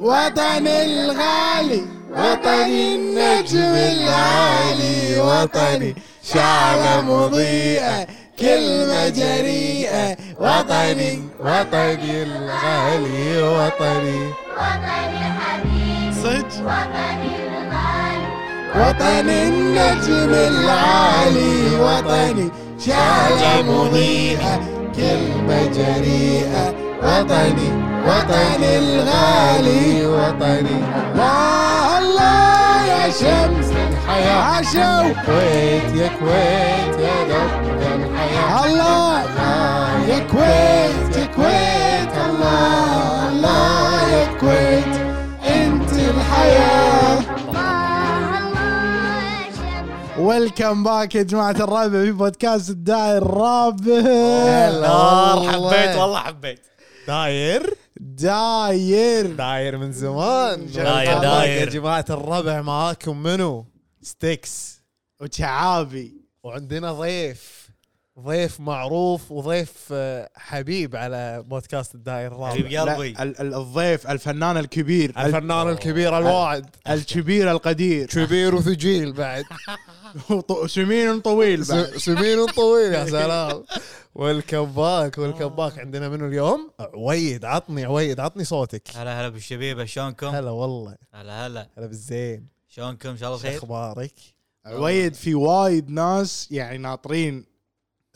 وطني الغالي وطني النجم العالي وطني شعلة مضيئة كلمة جريئة وطني وطني الغالي وطني وطني حبيبي صدق وطني الغالي وطني النجم العالي وطني شعلة مضيئة كلمة جريئة وطني وطني الغالي وطني لا الله يا شمس الحياة عاشوا الكويت يا كويت يا دفة الحياة الله يا كويت يا كويت الله الله يا كويت انت الحياه الله شمس ويلكم باك يا جماعة الرابع في بودكاست الداعي الرابع هلا حبيت والله حبيت داير داير داير من زمان داير، داير يا داير. جماعة الربع معاكم منو ستيكس وشعابي وعندنا ضيف ضيف معروف وضيف آه، حبيب على بودكاست الداير الرابع حبيب قلبي لا، ال- ال- الضيف الفنان الكبير ال- الفنان الكبير الواعد الكبير القدير كبير وثجيل بعد وط- سمين طويل بعد. س- سمين طويل يا سلام والكباك والكباك عندنا منو اليوم عويد عطني عويد عطني صوتك هلا هلا بالشبيبه شلونكم؟ هلا والله هلا هلا هلا بالزين شلونكم ان شاء الله شو خير؟ اخبارك وايد في وايد ناس يعني ناطرين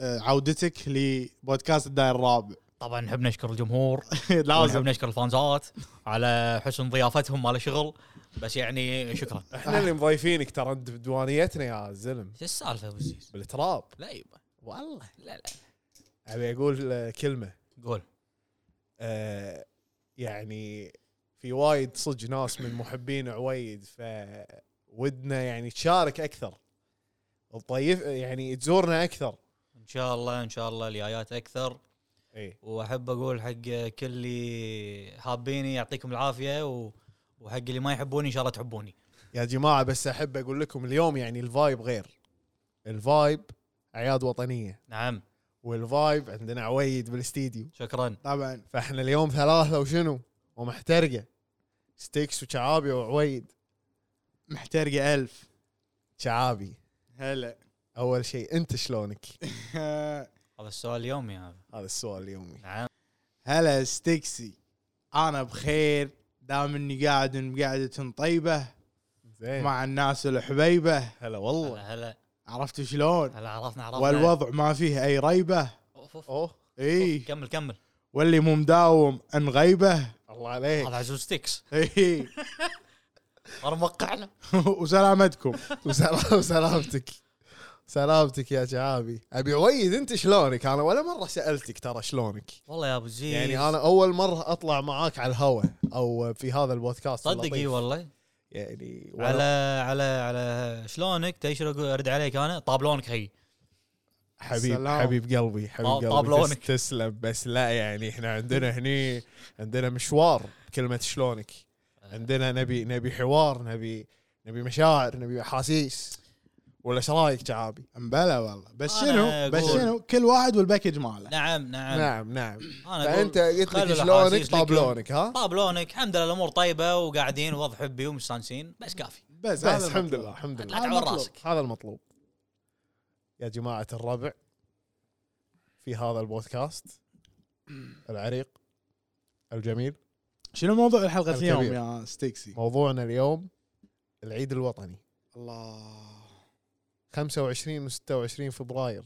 آه، عودتك لبودكاست الداير الرابع طبعا نحب نشكر الجمهور لازم ونحب نشكر الفانزات على حسن ضيافتهم على شغل بس يعني شكرا احنا اللي مضيفينك ترى انت بديوانيتنا يا زلم شو السالفه ابو عزيز؟ بالتراب لا يبا والله لا لا ابي اقول آه، كلمه قول آه يعني في وايد صدق ناس من محبين عويد فودنا يعني تشارك اكثر تضيف يعني تزورنا اكثر ان شاء الله ان شاء الله الجايات اكثر اي واحب اقول حق كل اللي حابيني يعطيكم العافيه و... وحق اللي ما يحبوني ان شاء الله تحبوني يا جماعه بس احب اقول لكم اليوم يعني الفايب غير الفايب اعياد وطنيه نعم والفايب عندنا عويد بالاستديو شكرا طبعا فاحنا اليوم ثلاثه وشنو ومحترقه ستيكس وشعابي وعويد محترقة ألف شعابي هلا اول شيء انت شلونك هذا السؤال اليومي هذا هذا السؤال اليومي نعم هلا ستيكسي انا بخير دام اني قاعد بقعدة طيبة زين مع الناس الحبيبة هلا والله هلا هلا عرفتوا شلون هلا عرفنا عرفنا والوضع ما فيه اي ريبة أوف، أوف، اوه اي كمل كمل واللي مو مداوم ان غيبه الله عليك هذا عزوز ستيكس اي انا موقعنا وسلامتكم وسلام سلامتك سلامتك يا شعابي ابي عويد انت شلونك انا ولا مره سالتك ترى شلونك والله يا ابو زيد يعني انا اول مره اطلع معاك على الهواء او في هذا البودكاست صدق اللطيف. اي والله يعني ولا- على على على شلونك تدري شنو أقول- ارد عليك انا طابلونك هي حبيب سلام. حبيب قلبي حبيب طاب- قلبي طابلونك. تس- تسلم بس لا يعني احنا عندنا هني عندنا مشوار بكلمه شلونك عندنا نبي نبي حوار نبي نبي مشاعر نبي احاسيس ولا ايش رايك شعابي؟ امبلا والله بس أنا شنو بس أقول- شنو كل واحد والباكج ماله نعم نعم, نعم نعم انا فانت قلت خلوا لك الأحاسيس شلونك لكم. طابلونك ها؟ طابلونك الحمد لله الامور طيبه وقاعدين وضع حبي ومستانسين بس كافي بس بس الحمد لله الحمد لا لله هذا تعور مطلوب. راسك هذا المطلوب يا جماعة الربع في هذا البودكاست العريق الجميل شنو موضوع الحلقه الكبير. اليوم يا ستيكسي موضوعنا اليوم العيد الوطني الله 25 و 26 فبراير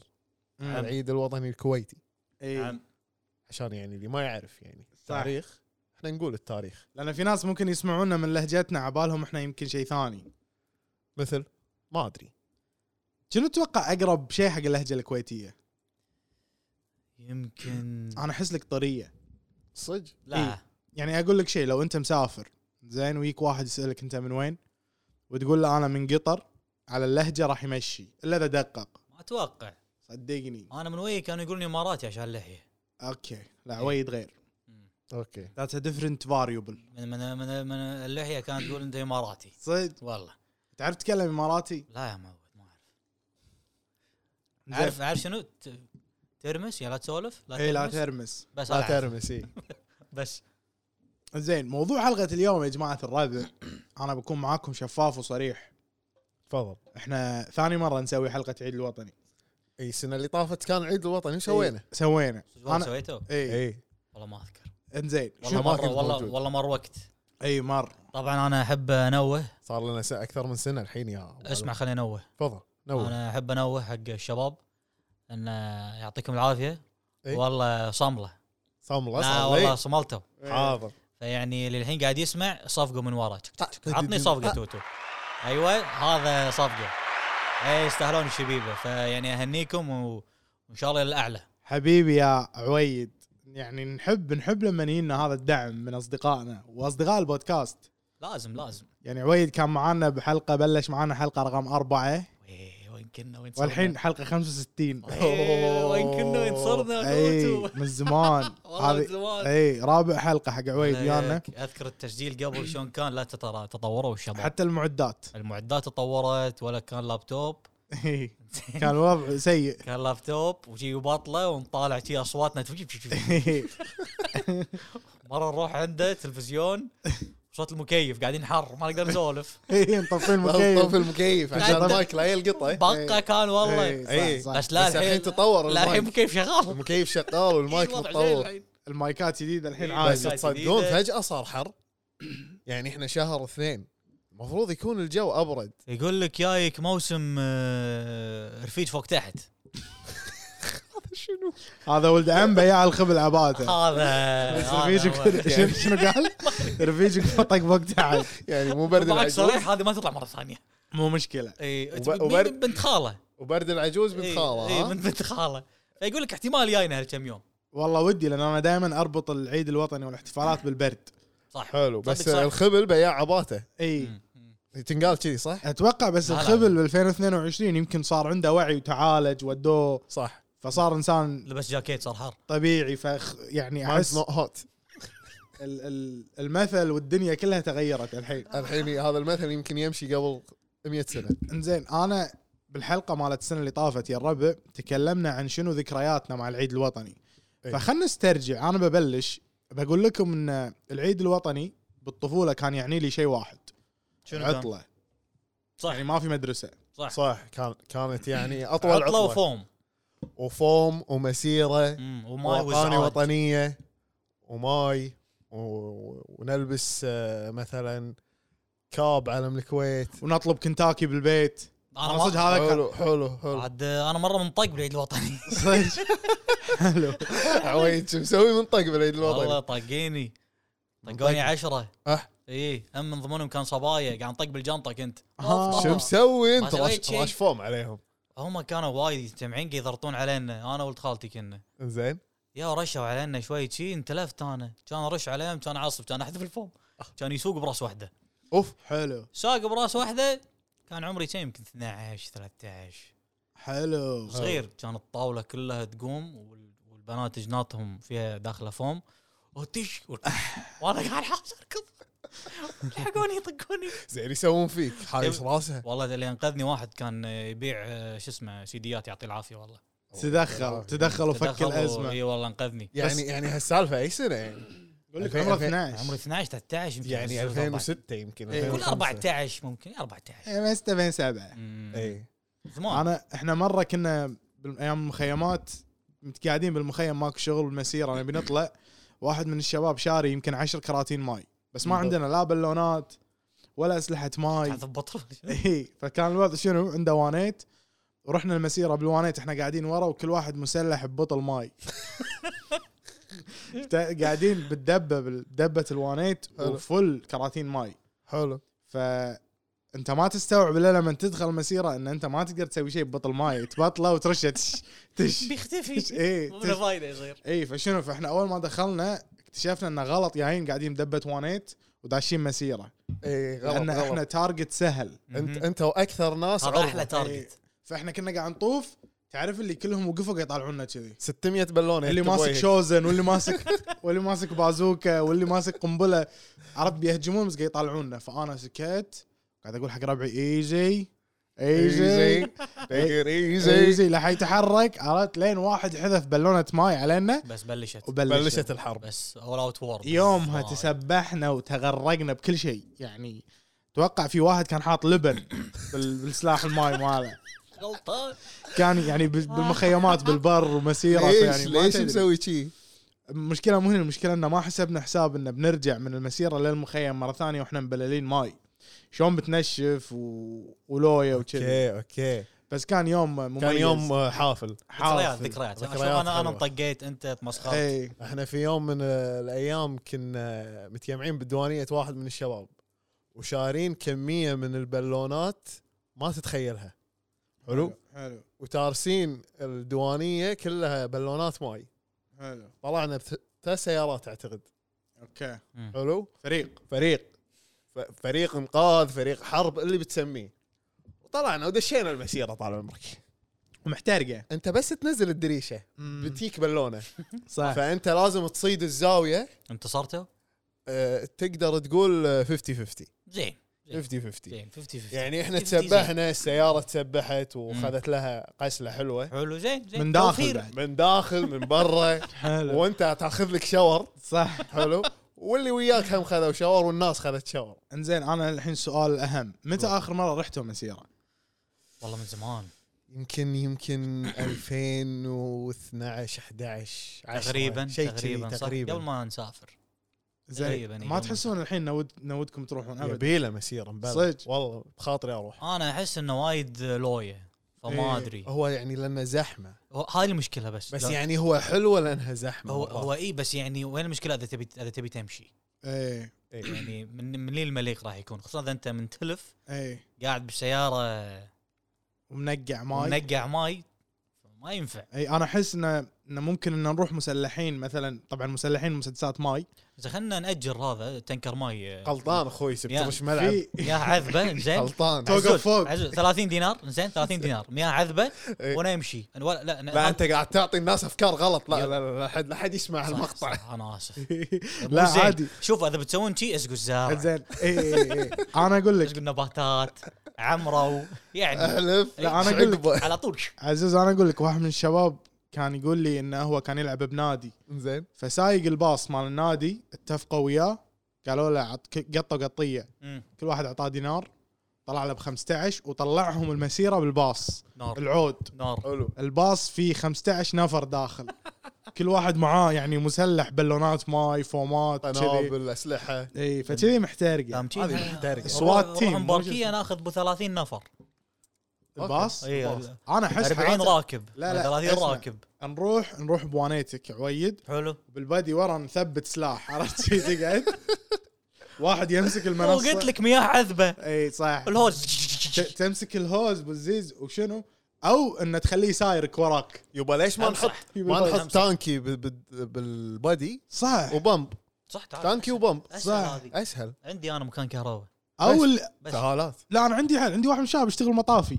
نعم. العيد الوطني الكويتي اي نعم عشان يعني اللي ما يعرف يعني صح تاريخ احنا نقول التاريخ لان في ناس ممكن يسمعونا من لهجتنا عبالهم احنا يمكن شيء ثاني مثل ما ادري شنو تتوقع اقرب شيء حق اللهجه الكويتيه يمكن انا احس لك طريه صدق لا يعني اقول لك شيء لو انت مسافر زين ويك واحد يسالك انت من وين وتقول له انا من قطر على اللهجه راح يمشي الا اذا دقق ما اتوقع صدقني انا من وين كانوا يقولون اماراتي عشان اللحيه اوكي لا وايد غير اوكي ذاتس ديفرنت فاريبل من من من, من اللحيه كانت تقول انت اماراتي صدق والله تعرف تتكلم اماراتي لا يا معود ما اعرف زين. عارف عارف شنو ت- ترمس يا لا تسولف اي إيه، لا ترمس ترمس بس لا لا ترمسي بس زين موضوع حلقه اليوم يا جماعه الربع انا بكون معاكم شفاف وصريح تفضل احنا ثاني مره نسوي حلقه عيد الوطني اي السنه اللي طافت كان عيد الوطني سوينا إيه، سوينا شلون انا سويته؟ اي اي والله ما اذكر انزين إيه. والله شو ما مره كنت والله موجود. والله مر وقت اي مر طبعا انا احب انوه صار لنا س- اكثر من سنه الحين يا أبو علي. اسمع خليني انوه تفضل نور انا احب انوه حق الشباب ان يعطيكم العافيه إيه. والله صامله صام الله لا صار لي. والله صملته حاضر فيعني للحين قاعد يسمع صفقه من ورا تك- تك- تك. آه. عطني صفقه توتو ايوه هذا صفقه اي يستاهلون الشبيبه فيعني اهنيكم و- وان شاء الله للاعلى حبيبي يا عويد يعني نحب نحب لما يجينا هذا الدعم من اصدقائنا واصدقاء البودكاست لازم لازم يعني عويد كان معانا بحلقه بلش معانا حلقه رقم أربعة وي- وين كنا وين صرنا؟ والحين حلقه 65 إيه، وين كنا وين صرنا اي توتو إيه، من زمان والله من هذه- زمان. اي رابع حلقه حق عويد أنا ويانا اذكر التسجيل قبل شلون كان لا ترى تطوروا الشباب حتى المعدات المعدات تطورت ولا كان لابتوب إي، إيه، كان الوضع سيء كان لابتوب وشي بطله ونطالع شي اصواتنا إيه، مره نروح عنده تلفزيون صوت المكيف قاعدين حر ما نقدر نسولف إي، نطفي طفي المكيف المكيف عشان قاعد- المايك لا يلقطه بقى كان والله اي إي. صح، صح. بس لا بس الحين الحين تطور لا الحين المايك. مكيف شغال المكيف شغال والمايك طيب، الوضع زي متطور الحين. المايكات جديده الحين إي، عادي بس جديدة. تصدقون فجاه صار حر يعني احنا شهر اثنين المفروض يكون الجو ابرد يقول لك جايك موسم آه، رفيج فوق تحت هذا ولد عمبه يا على الخبل آه. عباته هذا بس هذا رفيجك هو. شنو- شنو قال؟ رفيجك فطق وقت تعال يعني مو برد معك العجوز صريح هذه ما تطلع مره ثانيه مو مشكله اي وب- وبرد- بنت خاله وبرد العجوز بنت اي خاله ها؟ بنت بنت إيه، خاله فيقول لك احتمال جاينا هالكم يوم والله ودي لان انا دائما اربط العيد الوطني والاحتفالات بالبرد صح حلو بس صدق طيب، صح. الخبل بياع عباته اي مم. مم. تنقال كذي صح؟ اتوقع بس لا، لا. الخبل ب 2022 يمكن صار عنده وعي وتعالج ودوه صح فصار انسان لبس جاكيت صار حار طبيعي فخ يعني ماينز احس نوت هوت ال- ال- المثل والدنيا كلها تغيرت الحين الحين هذا المثل يمكن يمشي قبل 100 سنه انزين انا بالحلقه مالت السنه اللي طافت يا الربع تكلمنا عن شنو ذكرياتنا مع العيد الوطني إيه. فخلنا نسترجع انا ببلش بقول لكم ان العيد الوطني بالطفوله كان يعني لي شيء واحد كان؟ عطله صح يعني ما في مدرسه إيه. صح صح كان كانت يعني اطول عطله, عطله وفوم وفوم ومسيره مم، وماي واغاني وزعاج وطنيه وماي و- ونلبس آه، مثلا كاب علم الكويت ونطلب كنتاكي بالبيت انا أنا ما- صدق هذا كان حلو حلو حلو عاد انا مره منطق بالعيد الوطني صدق. حلو عويد شو مسوي منطق بالعيد والله الوطني طاقيني طقوني عشرة أه. ايه هم من ضمنهم كان صبايا قاعد نطق بالجنطه كنت آه. شو مسوي ما انت سويت راش شي. راش فوم عليهم هم كانوا وايد يجتمعين قاعد يضغطون علينا انا ولد خالتي كنا زين يا رشوا علينا شوي شي انتلفت انا كان ارش عليهم كان اعصب كان احذف الفوم كان يسوق براس واحده اوف حلو ساق براس واحده كان عمري كم يمكن 12 13 حلو صغير كان الطاوله كلها تقوم وال- والبنات جناطهم فيها داخله فوم وتش وتش. وانا قاعد حاس اركض يلحقوني يطقوني زين يسوون فيك حارس يب- راسها والله ده اللي انقذني واحد كان يبيع آه، شو اسمه سيديات يعطيه العافيه والله تدخل تدخل وفك تدخل و- الازمه اي والله انقذني يعني يعني هالسالفه اي سنه يعني اقول لك ألفين- عمره ألفين- 12 عمري 12 13 يمكن يعني 2006 يمكن إيه. كل 2005. 14 ممكن 14 إيه، بس 7 أمم. اي زمان انا احنا مره كنا بالايام المخيمات متقاعدين بالمخيم ماكو شغل بالمسيره نبي نطلع واحد من الشباب شاري يمكن عشر كراتين ماي بس ما عندنا لا بالونات ولا اسلحه ماي قاعد ببطل إيه. اي فكان الوضع شنو عنده وانيت ورحنا المسيره بالوانيت احنا قاعدين ورا وكل واحد مسلح ببطل ماي تا- قاعدين بالدبه بدبه الوانيت حلو. وفل كراتين ماي حلو فانت ما تستوعب الا لما تدخل مسيره ان انت ما تقدر تسوي شيء ببطل ماي تبطله وترشه تش تش بيختفي اي إيه. مو منه فايده يصير اي فشنو فاحنا اول ما دخلنا اكتشفنا انه غلط جايين قاعدين بدبه وانيت وداشين مسيره اي إيه، غلط لان احنا غلط تارجت سهل انت انت واكثر ناس إيه، هذا عرضة. احلى تارجت فاحنا كنا قاعد نطوف تعرف اللي كلهم وقفوا قاعد يطالعونا كذي 600 بالونه اللي يكتب ماسك وجهك. شوزن واللي ماسك واللي ماسك بازوكا واللي ماسك قنبله عرفت بيهجمون بس قاعد يطالعونا فانا سكت قاعد اقول حق ربعي ايزي إيه، ايزي تيك ايزي ايزي لح إيه، يتحرك عرفت لين واحد حذف بالونه ماي علينا بس بلشت وبلشت بلشت الحرب بس اول اوت وورد يومها وايد. تسبحنا وتغرقنا بكل شيء يعني توقع في واحد كان حاط لبن بال- بالسلاح الماي ماله غلطان كان يعني بال- بالمخيمات بالبر ومسيره ليش يعني ما ليش تدري. مسوي شي؟ المشكله مو هنا المشكله انه ما حسبنا حساب انه بنرجع من المسيره للمخيم مره ثانيه واحنا مبللين ماي شلون بتنشف و... ولويا وكذا اوكي اوكي بس كان يوم مميز كان يوم آه، حافل ذكريات حافل. ذكريات أنا ذكريات شوف انا انا حلوة. مطقيت انت تمسخرت اي احنا في يوم من آه، الايام كنا متجمعين بديوانيه واحد من الشباب وشارين كميه من البالونات ما تتخيلها حلو حلو وتارسين الديوانيه كلها بالونات ماي حلو طلعنا بت- ثلاث سيارات اعتقد اوكي مم. حلو فريق فريق ف- فريق انقاذ فريق حرب اللي بتسميه وطلعنا ودشينا المسيره طال عمرك ومحترقه انت بس تنزل الدريشه مم. آه. بتيك بالونه صح فانت لازم تصيد الزاويه انتصرته أه، تقدر تقول أه، 50 50 زين زين 50 50 زين 50 50 يعني احنا 50 زين. تسبحنا السياره تسبحت وخذت لها قسله حلوه حلو زين زين من داخل توفير. بعد. من داخل من برا حلو وانت تاخذ لك شاور صح حلو واللي وياك هم خذوا شاور والناس خذت شاور انزين انا الحين سؤال الاهم متى اخر مره رحتوا مسيره؟ والله من زمان يمكن يمكن 2012 11 10 تقريبا شيء كذي، تقريبا صح؟ تقريبا قبل ما نسافر زين تقريباً، ما يوم. تحسون الحين نود نودكم تروحون ابد يبي له مسيره مبلى. صدق. والله بخاطري اروح انا احس انه وايد لويه إيه. فما ادري هو يعني لانه زحمه هو- هاي المشكله بس بس لا- يعني هو حلوه لانها زحمه هو مرات. هو اي بس يعني وين المشكله اذا تبي اذا تبي تمشي ايه يعني من من لي المليق راح يكون خصوصا اذا انت من تلف ايه قاعد بالسياره ومنقع ماي إيه، منقع ماي ما ينفع اي انا احس انه انه ممكن ان نروح مسلحين مثلا طبعا مسلحين مسدسات ماي اذا خلينا ناجر هذا تنكر ماي آه، غلطان اخوي يعني سبترش ملعب في مياه عذبه زين غلطان توقف عزوز- فوق. عزوز، 30 دينار زين 30 دينار مياه عذبه إيه. وانا امشي أنا ولا لا, لا انت قاعد تعطي الناس افكار غلط لا يلا. لا لا حد لا حد يسمع صح، المقطع صح، انا اسف مو لا زين. عادي شوف اذا بتسوون شي اسقوا الزرع زين إيه، اي اي اي انا اقول لك اسقوا النباتات عمروا يعني احلف لا، أنا أقول لك. على طول عزيز انا اقول لك واحد من الشباب كان يقول لي انه هو كان يلعب بنادي زين فسايق الباص مال النادي اتفقوا وياه قالوا له عط ك- قطه قطيه مم. كل واحد اعطاه دينار طلع له ب 15 وطلعهم المسيره بالباص نار العود نار حلو الباص فيه 15 نفر داخل كل واحد معاه يعني مسلح بالونات ماي فومات كذي قنابل اسلحه اي فكذي يعني. نعم، محترقه هذه آه، محترقة. SWAT team، مو مباركيه جزء. ناخذ ب 30 نفر الباص إي، الباص. ال- انا احس 40 حياتي- راكب لا، لا، 30 اسمع. راكب نروح نروح بوانيتك عويد حلو بالبادي ورا نثبت سلاح عرفت شي تقعد واحد يمسك مو المنصه قلت لك مياه عذبه اي صح الهوز ت- تمسك الهوز بالزيز وشنو او انه تخليه سايرك وراك يبا ليش ما أمسح. نحط ما نحط تانكي بال- بال- بالبادي صح وبمب صح تعال تانكي وبمب اسهل صح. آه. هذه. اسهل عندي انا مكان كهرباء او ال... بس سهالات لا انا عندي حل عندي واحد من الشباب يشتغل مطافي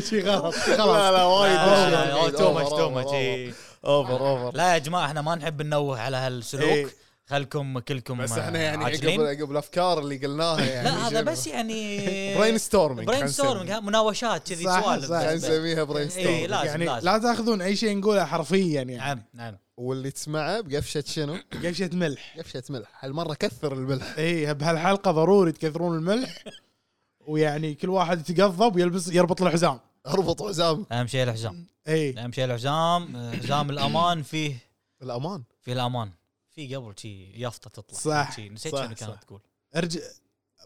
شي غلط لا خلاص لا وايد لا، لا، وايد. لا، تو ماتش، أوفر، تو أوفر، ماتش، إي. اوفر اوفر لا يا جماعه احنا ما نحب ننوه على إيه. هالسلوك خلكم كلكم بس آه، احنا يعني عاجلين. عقب عقب الافكار اللي قلناها يعني لا هذا بس يعني برين ستورمينج برين ستورمينج ها، مناوشات كذي صح، سوالف صح. بس. خلينا نسميها برين إي، ستورمينج لازم يعني لازم لا تاخذون اي شيء نقوله حرفيا يعني نعم نعم واللي تسمعه بقفشه شنو؟ يعني قفشه ملح قفشه ملح هالمره كثر الملح اي بهالحلقه ضروري تكثرون الملح ويعني كل واحد يتقضب ويلبس يربط له حزام إيه. اربط حزام اهم شيء الحزام اي اهم شيء الحزام آه، حزام الامان فيه الامان فيه الامان في قبل شي يافطه تطلع صح، شي نسيت صح، شنو صح. كانت تقول ارجع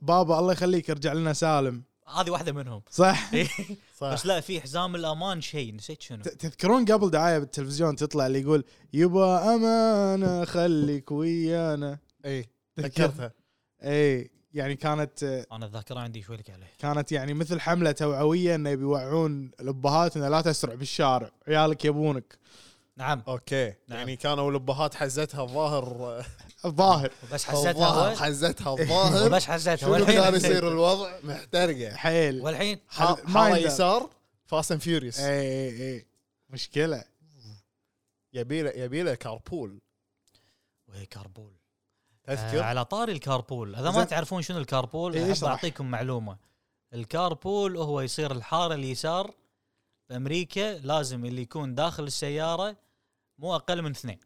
بابا الله يخليك ارجع لنا سالم هذه واحده منهم صح إي. صح بس لا في حزام الامان شيء نسيت شنو ت- تذكرون قبل دعايه بالتلفزيون تطلع اللي يقول يبا امانه خليك ويانا إيه. اي ذكرتها اي يعني كانت انا الذاكره عندي شوي لك عليه كانت يعني مثل حمله توعويه انه بيوعون الابهات انه لا تسرع بالشارع عيالك يبونك نعم اوكي نعم. يعني كانوا الابهات حزتها الظاهر الظاهر بس حسيتها الظاهر هو- حزتها الظاهر بس حسيتها شنو كان والحين يصير الوضع محترقه حيل والحين هذا ح- ما حاره يندر. يسار فاست اند فيوريوس إيه. اي اي اي مشكله يبي له يبي له كاربول وهي كربول آه، تذكر على طاري الكاربول اذا ما زين. تعرفون شنو الكاربول إيه، احب اشرح. اعطيكم معلومه الكاربول هو يصير الحاره اليسار بامريكا لازم اللي يكون داخل السياره مو اقل من اثنين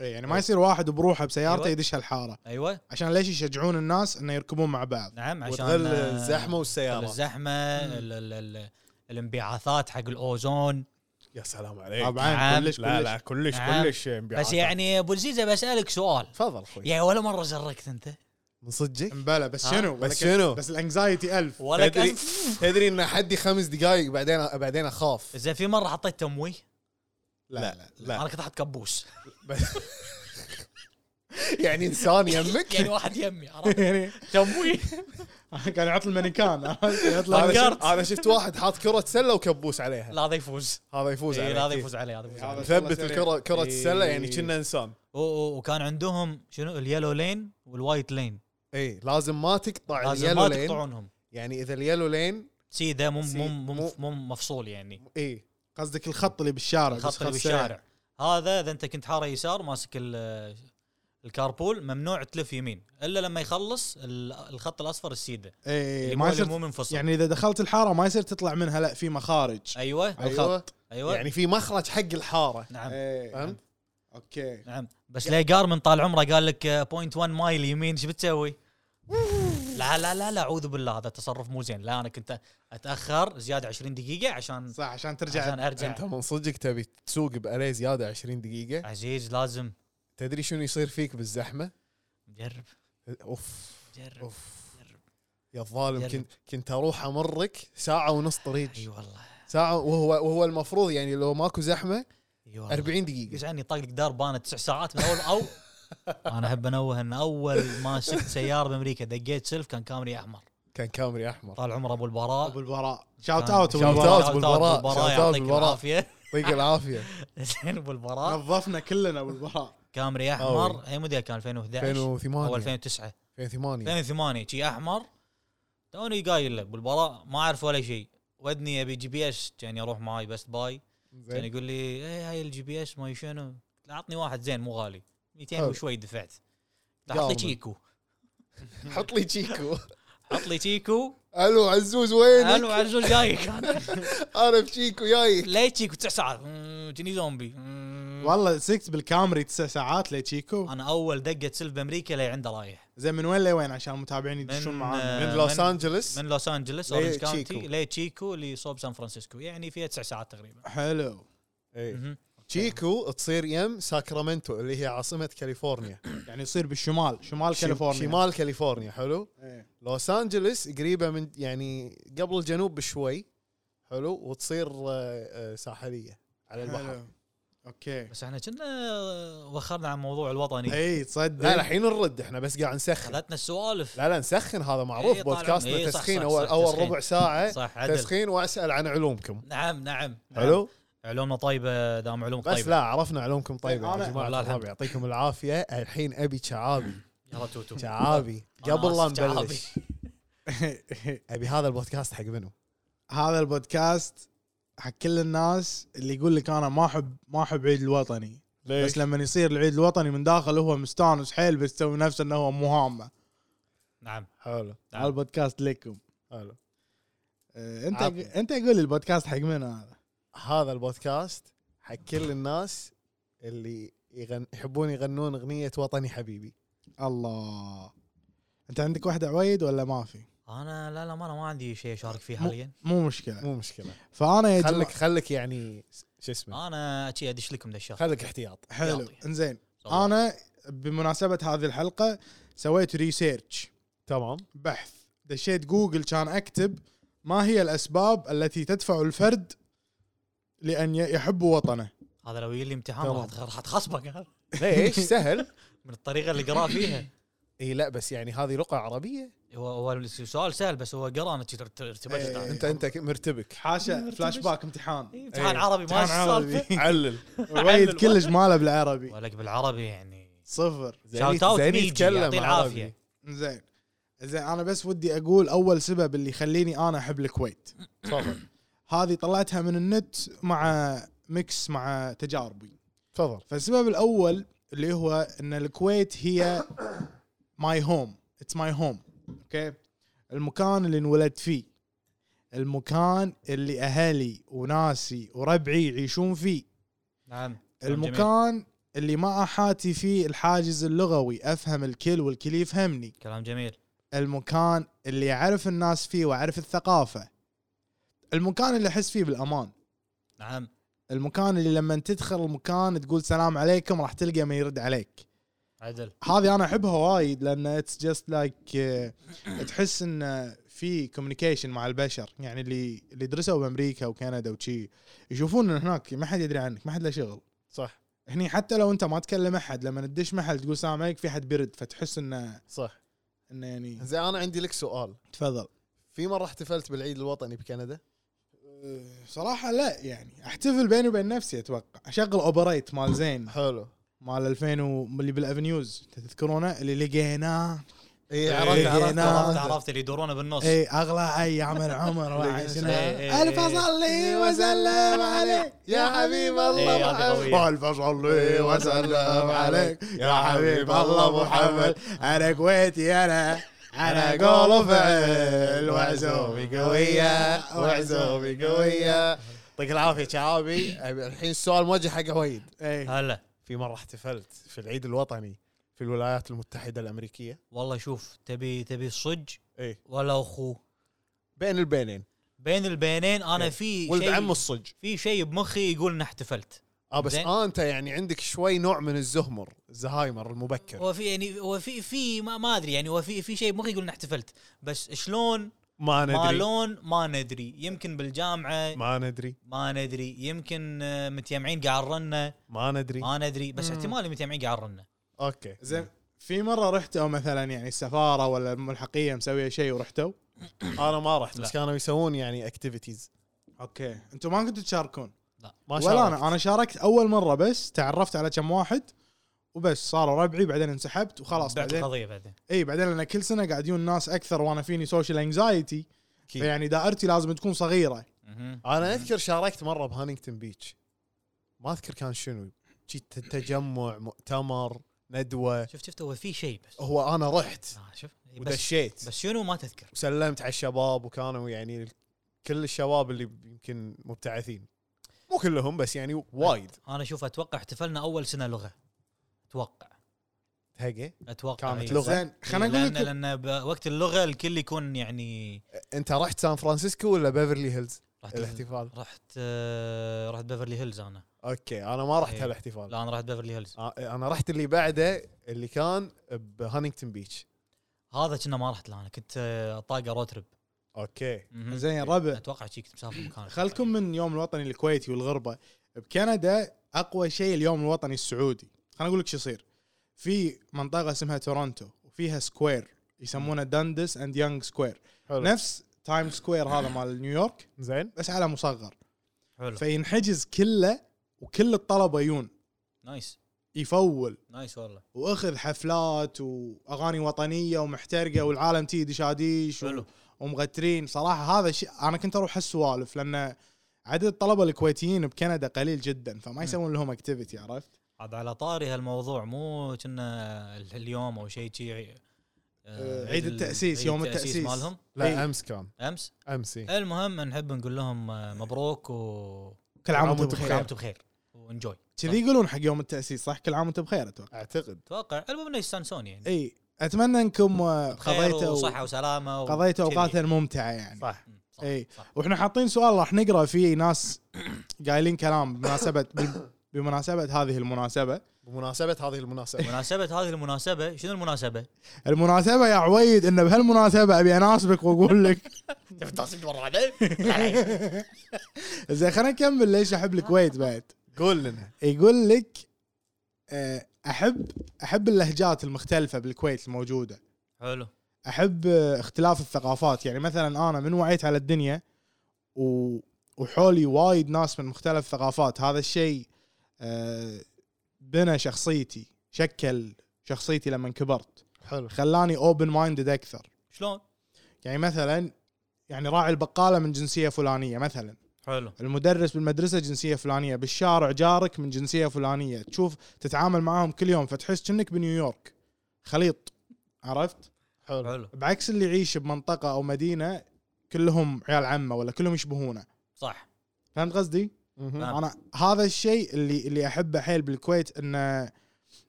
إيه يعني ما يصير واحد بروحه بسيارته أيوة. يدش هالحاره ايوه عشان ليش يشجعون الناس انه يركبون مع بعض نعم عشان وتغل آه، الزحمه والسياره الزحمه ال- ال- ال- الانبعاثات حق الاوزون يا سلام عليك طبعا نعم. كلش لا كلش لا كلش نعم. كلش انبعاثات. بس يعني ابو الزيزه بسالك سؤال تفضل اخوي يعني ولا مره زركت انت من صدقك مبلى بس ها؟ شنو بس شنو؟ بس الانكزايتي ألف ولا تدري- كان تدري ان حدي خمس دقائق بعدين بعدين اخاف اذا في مره حطيت تموي لا لا انا كنت احط كبوس بس- يعني انسان يمك يعني واحد يمي عرفت؟ يعني تموي كان يعطي المانيكان انا يطلع فكرت. شفت, أنا شفت واحد حاط كره سله وكبوس عليها لا هذا يفوز هذا يفوز اي عليه هذا أكيد. يفوز عليه هذا يفوز هذا عليه ثبت سريع. الكره كره السله يعني إيه. كنا انسان و- و- وكان عندهم شنو اليلو لين والوايت لين اي إيه، لازم ما تقطع إيه. لازم ما آه، اليلو لين تقطعونهم يعني اذا اليلو لين إيه. سيده مو مو سيدة، مو مو- مو مفصول يعني اي قصدك الخط اللي بالشارع الخط اللي بالشارع هذا اذا انت كنت حاره يسار ماسك ال- الكاربول ممنوع تلف يمين الا لما يخلص ال- الخط الاصفر إيه، السيده اي اللي ما مو اللي يصير مو منفصل يعني يعني اذا دخلت الحاره ما يصير تطلع منها لا في مخارج ايوه على الخط ايوه يعني في مخرج حق الحاره نعم اي فهمت؟ اوكي نعم بس ليه جارمن طال عمره قال لك آه، 0.1 مايل يمين شو بتسوي؟ لا لا لا لا اعوذ بالله هذا تصرف مو زين لا انا كنت اتاخر زياده 20 دقيقه عشان صح عشان ترجع عشان ارجع انت من صدقك تبي تسوق باليه زياده 20 دقيقه عزيز لازم تدري شنو يصير فيك بالزحمه جرب اوف جرب اوف جرب. يا الظالم جرب. كنت كنت اروح امرك ساعه ونص طريق أيوه. اي والله ساعه وهو وهو المفروض يعني لو ماكو زحمه اي آه. والله 40 دقيقه يزعلني طاق دار بانت تسع ساعات من اول او انا احب انوه ان اول ما شفت سياره بامريكا دقيت سلف كان كامري احمر كان كامري احمر طال عمره ابو البراء ابو البراء شاوت كان- اوت ابو شاوت البراء أوت أبو البراء، شاوت أوت يعطيك أبو البراء. العافيه يعطيك العافيه زين ابو البراء نظفنا كلنا ابو البراء كامري احمر اي موديل كان 2011 او 2008 2009 2008 2008 شي احمر توني قايل له ابو البراء ما اعرف ولا شيء ودني ابي جي بي اس كان يروح معاي بس باي كان يعني زين يقول لي ايه هاي الجي بي اس ما شنو قلت له عطني واحد زين مو غالي 200 حلو. وشوي دفعت قلت له يا حط لي رب. تشيكو حط لي تشيكو حط لي تشيكو الو عزوز وين الو عزوز جايك انا بتشيكو جاي ليه تشيكو تسع ساعات مم، جني زومبي مم. آه. والله سكت بالكامري تسع ساعات لتشيكو انا اول دقه سلف بامريكا لي عنده رايح زين من وين لوين عشان المتابعين يدشون من- معانا من آه، لوس من- انجلس من لوس انجلس ليه اورنج كاونتي تشيكو. ليه تشيكو لصوب سان فرانسيسكو يعني فيها تسع ساعات تقريبا حلو إيه. مهم. تشيكو تصير يم ساكرامنتو اللي هي عاصمه كاليفورنيا يعني يصير بالشمال شمال شم- كاليفورنيا شمال كاليفورنيا حلو إيه. لوس انجلس قريبه من يعني قبل الجنوب بشوي حلو وتصير آه، آه، ساحليه على البحر حلو. اوكي بس احنا كنا وخرنا عن موضوع إيه. الوطني اي تصدق لا الحين نرد احنا بس قاعد نسخن خلتنا السوالف لا لا نسخن هذا معروف إيه، طالع- بودكاستنا إيه، صح، تسخين صح، اول صح، اول تسخين. ربع ساعه صح عدل تسخين واسال عن علومكم نعم نعم نعم. حلو علومنا طيبه دام علوم بس طيبه لا عرفنا علومكم طيبه أنا- يا جماعه الربع والله الحمد. يعطيكم العافيه الحين ابي شعابي يلا توتو شعابي أنا قبل لا آسف، شعابي. نبلش ابي هذا البودكاست حق منو؟ هذا البودكاست حق كل الناس اللي يقول لك انا ما احب ما احب عيد الوطني بس لما يصير العيد الوطني من داخل هو مستانس حيل بس يسوي نفسه انه هو مو هامه نعم حلو نعم. هذا البودكاست لكم حلو آه، انت عطني. انت قول لي البودكاست حق من هذا هذا البودكاست حق كل الناس اللي يغن... يحبون يغنون اغنيه وطني حبيبي الله انت عندك واحده عويد ولا ما في انا لا لا ما انا ما عندي شيء اشارك فيه مو- حاليا مو مشكله مو مشكله فانا يا خلك جماعه خلك يعني شو اسمه انا شي ادش لكم ذا الشهر خلك احتياط حلو يعطي. انزين انا بمناسبه هذه الحلقه سويت ريسيرش تمام بحث دشيت جوجل كان اكتب ما هي الاسباب التي تدفع الفرد لان ي- يحب وطنه هذا لو يجي لي امتحان تمام. راح أتخ- راح اتخصبك ليش سهل من الطريقه اللي قرا فيها اي لا بس يعني هذه لغه عربيه هو هو السؤال سهل بس هو قرا انا شي ارت- إيه. ارتبكت انت انت ك- مرتبك حاشا فلاش باك امتحان امتحان إيه. عربي ما امتحان عربي. السالفه علل وايد كلش ماله بالعربي ولك بالعربي يعني صفر شاوت اوت ميجي يعطيه العافيه زين زين انا بس ودي اقول اول سبب اللي يخليني انا احب الكويت تفضل هذه طلعتها من النت مع ميكس مع تجاربي تفضل فالسبب الاول اللي هو ان الكويت هي ماي هوم اتس ماي هوم اوكي المكان اللي انولدت فيه المكان اللي اهلي وناسي وربعي يعيشون فيه نعم المكان اللي ما احاتي فيه الحاجز اللغوي افهم الكل والكل يفهمني كلام جميل المكان اللي اعرف الناس فيه واعرف الثقافه المكان اللي احس فيه بالامان نعم المكان اللي لما تدخل المكان تقول سلام عليكم راح تلقى من يرد عليك عدل هذه انا احبها وايد لان اتس جاست لايك آه، تحس ان في كوميونيكيشن مع البشر يعني اللي اللي درسوا بامريكا وكندا وشي يشوفون ان هناك ما حد يدري عنك ما حد له شغل صح هني حتى لو انت ما تكلم احد لما تدش محل تقول سلام عليك في حد بيرد فتحس انه صح انه يعني زين انا عندي لك سؤال تفضل في مره احتفلت بالعيد الوطني بكندا صراحة لا يعني احتفل بيني وبين نفسي اتوقع اشغل اوبريت مال زين حلو مال 2000 و- اللي بالافنيوز تذكرونه اللي لقيناه اي إيه، عرفت عرفت جينا. عرفت عرفت عرفت اللي يدورونه بالنص إيه. اي اغلى ايام العمر إيه، إيه، وعشنا إيه. الف اصلي وسلم عليك يا حبيب إيه، هذه الله قوية. محمد. الف اصلي وسلم عليك يا حبيب الله محمد انا كويتي انا انا قول فعل وعزومي قوية وعزومي قوية يعطيك العافيه شعابي أبي- الحين السؤال موجه حق وايد اي هلا في مره احتفلت في العيد الوطني في الولايات المتحده الامريكيه والله شوف تبي تبي الصج اي ولا اخوه بين البينين بين البينين انا في إيه. ولد عم شيء الصج في شيء بمخي يقول ان احتفلت اه بس زين. آه انت يعني عندك شوي نوع من الزهمر الزهايمر المبكر هو في يعني هو في في ما, ما ادري يعني هو في في شيء بمخي يقول ان احتفلت بس شلون ما ما ندري لون ما ندري يمكن بالجامعه ما ندري ما ندري يمكن آه، متيمعين قاعد رنا ما ندري ما ندري بس احتمال متيمعين قاعد رنا اوكي زين في مرة رحتوا مثلا يعني السفارة ولا الملحقية مسوية شيء ورحتوا انا ما رحت لا. بس كانوا يسوون يعني اكتيفيتيز اوكي انتم ما كنتوا تشاركون ما ولا شاركت. انا انا شاركت اول مرة بس تعرفت على كم واحد وبس صاروا ربعي بعدين انسحبت وخلاص بعد بعدين القضيه بعدين اي بعدين انا كل سنه قاعد يجون ناس اكثر وانا فيني سوشيال انكزايتي أكيد. يعني دائرتي لازم تكون صغيره مهم. انا اذكر شاركت مره بهانينغتون بيتش ما اذكر كان شنو شي ت- تجمع مؤتمر ندوه شفت شفت هو في شيء بس هو انا رحت آه شفت بس ودشيت بس شنو ما تذكر وسلمت على الشباب وكانوا يعني ال- كل الشباب اللي يمكن مبتعثين مو كلهم بس يعني وايد انا شوف اتوقع احتفلنا اول سنه لغه اتوقع هقه اتوقع كانت إيه. لغة. زين خلينا لان نقول لكم لان بوقت اللغه الكل يكون يعني انت رحت سان فرانسيسكو ولا بيفرلي هيلز رحت الاحتفال رحت آه، رحت بيفرلي هيلز انا اوكي انا ما رحت إيه. هالاحتفال لا انا رحت بيفرلي هيلز آه، انا رحت اللي بعده اللي كان بهانينغتون بيتش هذا كنا ما رحت له انا كنت آه، طاقه روترب تريب اوكي مهم. زين ربع اتوقع شي كنت مسافر مكان خلكم من يوم الوطني الكويتي والغربه بكندا اقوى شيء اليوم الوطني السعودي خلينا اقول لك شو يصير في منطقه اسمها تورونتو وفيها سكوير يسمونه داندس اند يونغ سكوير حلو نفس تايم سكوير هذا مال نيويورك زين بس على مصغر حلو فينحجز كله وكل الطلبه يون نايس يفول نايس والله واخذ حفلات واغاني وطنيه ومحترقه والعالم تي دشاديش و- حلو. ومغترين صراحه هذا الشيء انا كنت اروح هالسوالف لان عدد الطلبه الكويتيين بكندا قليل جدا فما يسوون لهم اكتيفيتي عرفت؟ عاد على طاري هالموضوع مو كنا ال- اليوم او شيء شي آه، آه، عيد ال- التأسيس، عيد يوم التأسيس. مالهم لا إيه. امس كان امس امس إيه. المهم نحب نقول لهم آه، مبروك و كل عام وانتم وأنتم كل بخير عام وانتم بخير وانجوي كذي يقولون حق يوم التاسيس صح كل عام وانتم بخير اتوقع اعتقد اتوقع المهم انه يستانسون إيه، يعني اي اتمنى انكم آه، بخير قضيتوا وصحه وسلامه و... قضيتوا كذي. اوقات ممتعه يعني صح مم، صح، إيه. إي. صح. واحنا حاطين سؤال راح نقرا فيه ناس قايلين كلام بمناسبه بمناسبه هذه المناسبه بمناسبه هذه المناسبه مناسبة هذه المناسبة شنو المناسبة؟ المناسبة يا عويد انه بهالمناسبة ابي اناسبك واقول لك تبي تصيد مرة بعدين؟ إيه. زين خلينا نكمل ليش احب الكويت بعد قول لنا يقول لك آه، احب احب اللهجات المختلفة بالكويت الموجودة حلو احب آه، اختلاف الثقافات يعني مثلا انا من وعيت على الدنيا و... وحولي وايد ناس من مختلف الثقافات هذا الشيء آه، بنى شخصيتي شكل شخصيتي لما كبرت حلو خلاني اوبن مايندد اكثر شلون؟ يعني مثلا يعني راعي البقاله من جنسيه فلانيه مثلا حلو المدرس بالمدرسه جنسيه فلانيه بالشارع جارك من جنسيه فلانيه تشوف تتعامل معاهم كل يوم فتحس كأنك بنيويورك خليط عرفت؟ حلو حلو بعكس اللي يعيش بمنطقه او مدينه كلهم عيال عمه ولا كلهم يشبهونه صح فهمت قصدي؟ مهم. نعم. انا هذا الشيء اللي اللي احبه حيل بالكويت انه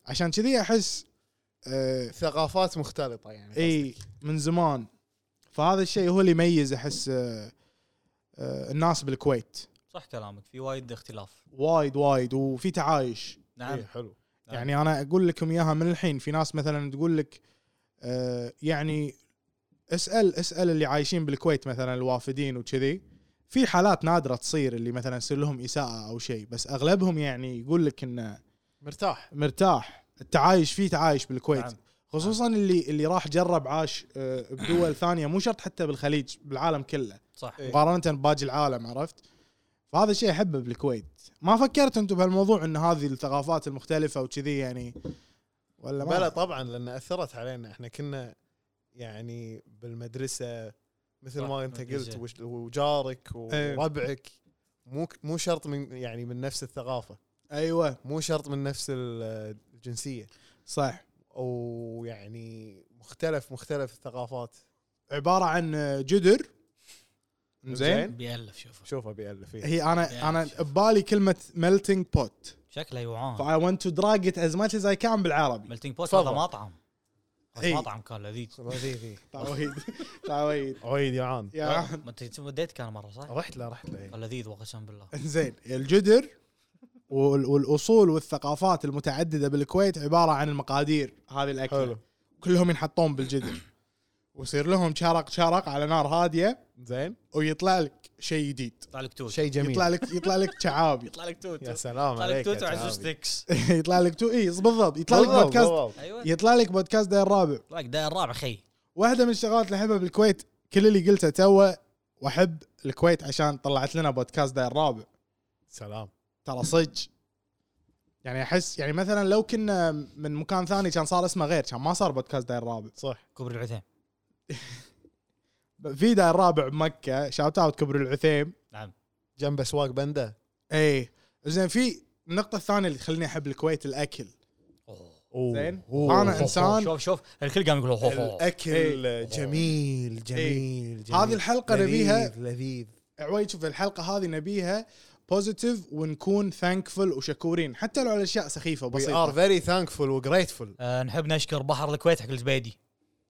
عشان كذي احس آه، ثقافات مختلطه يعني اي من زمان فهذا الشيء هو اللي يميز احس آه، آه، الناس بالكويت صح كلامك في وايد اختلاف وايد وايد وفي تعايش نعم إي، إيه، حلو نعم. يعني انا اقول لكم اياها من الحين في ناس مثلا تقول لك آه، يعني اسال اسال اللي عايشين بالكويت مثلا الوافدين وكذي في حالات نادره تصير اللي مثلا يصير لهم اساءه او شيء بس اغلبهم يعني يقول لك انه مرتاح مرتاح التعايش فيه تعايش بالكويت نعم. خصوصا اللي اللي راح جرب عاش آه، بدول ثانيه مو شرط حتى بالخليج بالعالم كله صح إيه. مقارنه بباقي العالم عرفت فهذا الشيء احبه بالكويت ما فكرت انتم بهالموضوع ان هذه الثقافات المختلفه وكذي يعني ولا ما بلى طبعا لان اثرت علينا احنا كنا يعني بالمدرسه مثل صح، ما انت قلت بالمدرسة. وش- وجارك إيه. وربعك مو ك- مو شرط من يعني من نفس الثقافه ايوه مو شرط من نفس ال- الجنسيه صح او يعني مختلف مختلف الثقافات عباره عن جدر زين. زين إيه. بيألف شوف شوف إيه. ابي الف فيه هي انا انا ببالي كلمه melting pot شكله يوعان فاي ونت تو دراج ات از ماتش از اي كان بالعربي ملتينج بوت تفضل. إيه. هذا مطعم إي. هذا مطعم كان لذيذ تعويد تعويد عويد يعان يا عم. طيب، ما انت وديت كان مره صح؟ رحت له إيه. رحت له كان لذيذ وقسم بالله إيه. زين الجدر وال- والاصول والثقافات المتعدده بالكويت عباره عن المقادير هذه الاكله حلو. حلو. كلهم ينحطون بالجدر ويصير لهم شرق شرق على نار هاديه زين ويطلع لك شيء جديد يطلع لك توت شيء جميل يطلع لك يطلع لك شعابي يطلع لك توت يا سلام يطلع لك عليك يا توت وعزوز تعابي. ستيكس يطلع لك تو اي بالضبط يطلع لك بالضبط، بودكاست بالضبط. ايوه يطلع لك بودكاست داير الرابع يطلع لك ده الرابع خي واحده من الشغلات اللي احبها بالكويت كل اللي قلته توه واحب الكويت عشان طلعت لنا بودكاست داير الرابع سلام ترى صدق يعني احس يعني مثلا لو كنا من مكان ثاني كان صار اسمه غير كان ما صار بودكاست داير الرابع صح كبر العثيم في داير الرابع بمكه شاوت اوت كبر العثيم نعم جنب اسواق بندا اي زين في النقطة الثانية اللي تخليني احب الكويت الاكل أوه. زين أوه. انا انسان شوف شوف الكل قام يقول هو هو الاكل جميل جميل جميل إيه. هذه الحلقة لذيذ، نبيها- لذيذ عوي شوف الحلقة هذه نبيها بوزيتيف ونكون ثانكفul وشكورين حتى لو على اشياء سخيفة وي ار وبسيطة فيري ثانكفول وجريتفول آه نحب نشكر بحر الكويت حق الزبيدي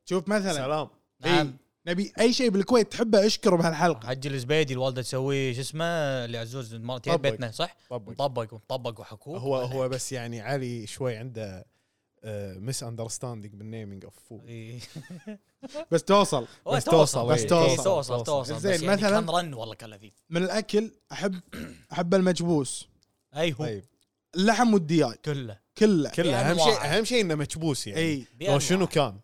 شوف مثلا سلام اي نعم نبي اي شيء بالكويت تحبه اشكره بهالحلقة حج الزبيدي الوالده تسوي شو اسمه اللي عزوز مرتين طبق. بيتنا صح؟ طبق. مطبق ومطبق وحكوك هو هو بس يعني علي شوي عنده آه، مس اندرستاندينج بالنيمينج اوف إيه. فود إي. بس توصل هو بس توصل، بس إي، توصل. توصل توصل بس زين، يعني مثلاً- كان رن والله كان لذيذ من الاكل احب احب المجبوس اي هو طيب اللحم والدياي كله كله إيه. كله اهم بأنواع. شيء اهم شيء انه مكبوس يعني اي لو شنو بأنواع. كان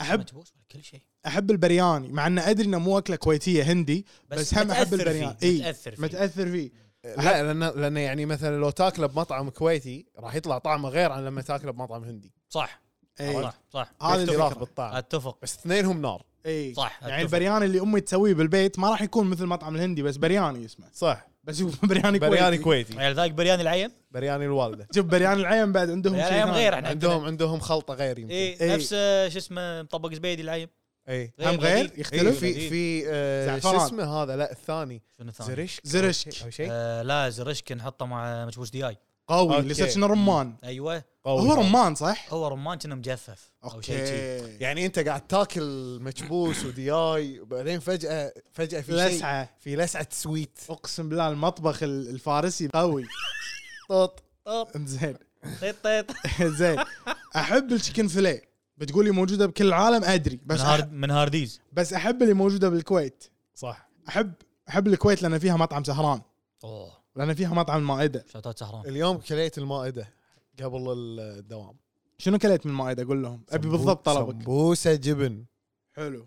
احب مجبوس ولا كل شيء احب البرياني مع انه ادري انه مو اكله كويتيه هندي بس بس, هم احب متأثر البرياني فيه، اي متأثر فيه. متاثر فيه لا لان لان يعني مثلا لو تاكله بمطعم كويتي راح يطلع طعمه غير عن لما تاكله بمطعم هندي صح اي صح صح هذا اختلاف الفكره بالطعم اتفق بس اثنينهم نار اي صح يعني أتفق. البرياني اللي امي تسويه بالبيت ما راح يكون مثل مطعم الهندي بس برياني اسمه صح بس هو برياني كويتي برياني إيه. كويتي يعني ذاك بريان العين برياني الوالده شوف برياني العين بعد عندهم شيء بريان العين ثاني. غير احنا عندهم عندهم خلطه غير يمكن اي إي. نفس آه، شو اسمه مطبق زبيدي العين اي هم إيه. غير لذيذ. إيه يختلف إيه. في في آه، شو زعفران. اسمه هذا لا الثاني شنو الثاني؟ زرشك زرشك. او شيء آه لا زرشك نحطه مع مجبوش دياي قوي أوكي. اللي صار شنو رمان ايوه قوي. هو رمان صح؟ هو رمان كنا مجفف او شيء شي. اوكي يعني انت قاعد تاكل مكبوس ودياي وبعدين فجاه فجاه في شيء لسعه في لسعه سويت اقسم بالله المطبخ ال- الفارسي قوي طط طب زين طيط طيط زين احب الشيكن فيليه بتقولي موجوده بكل العالم ادري من بس هارد من هارديز بس احب اللي موجوده بالكويت صح احب احب الكويت لان فيها مطعم سهران اوه لان فيها مطعم المائده شوتات سهران اليوم كليت المائده قبل الدوام شنو كليت من المائده قول لهم ابي بالضبط طلبك سمبوسه جبن حلو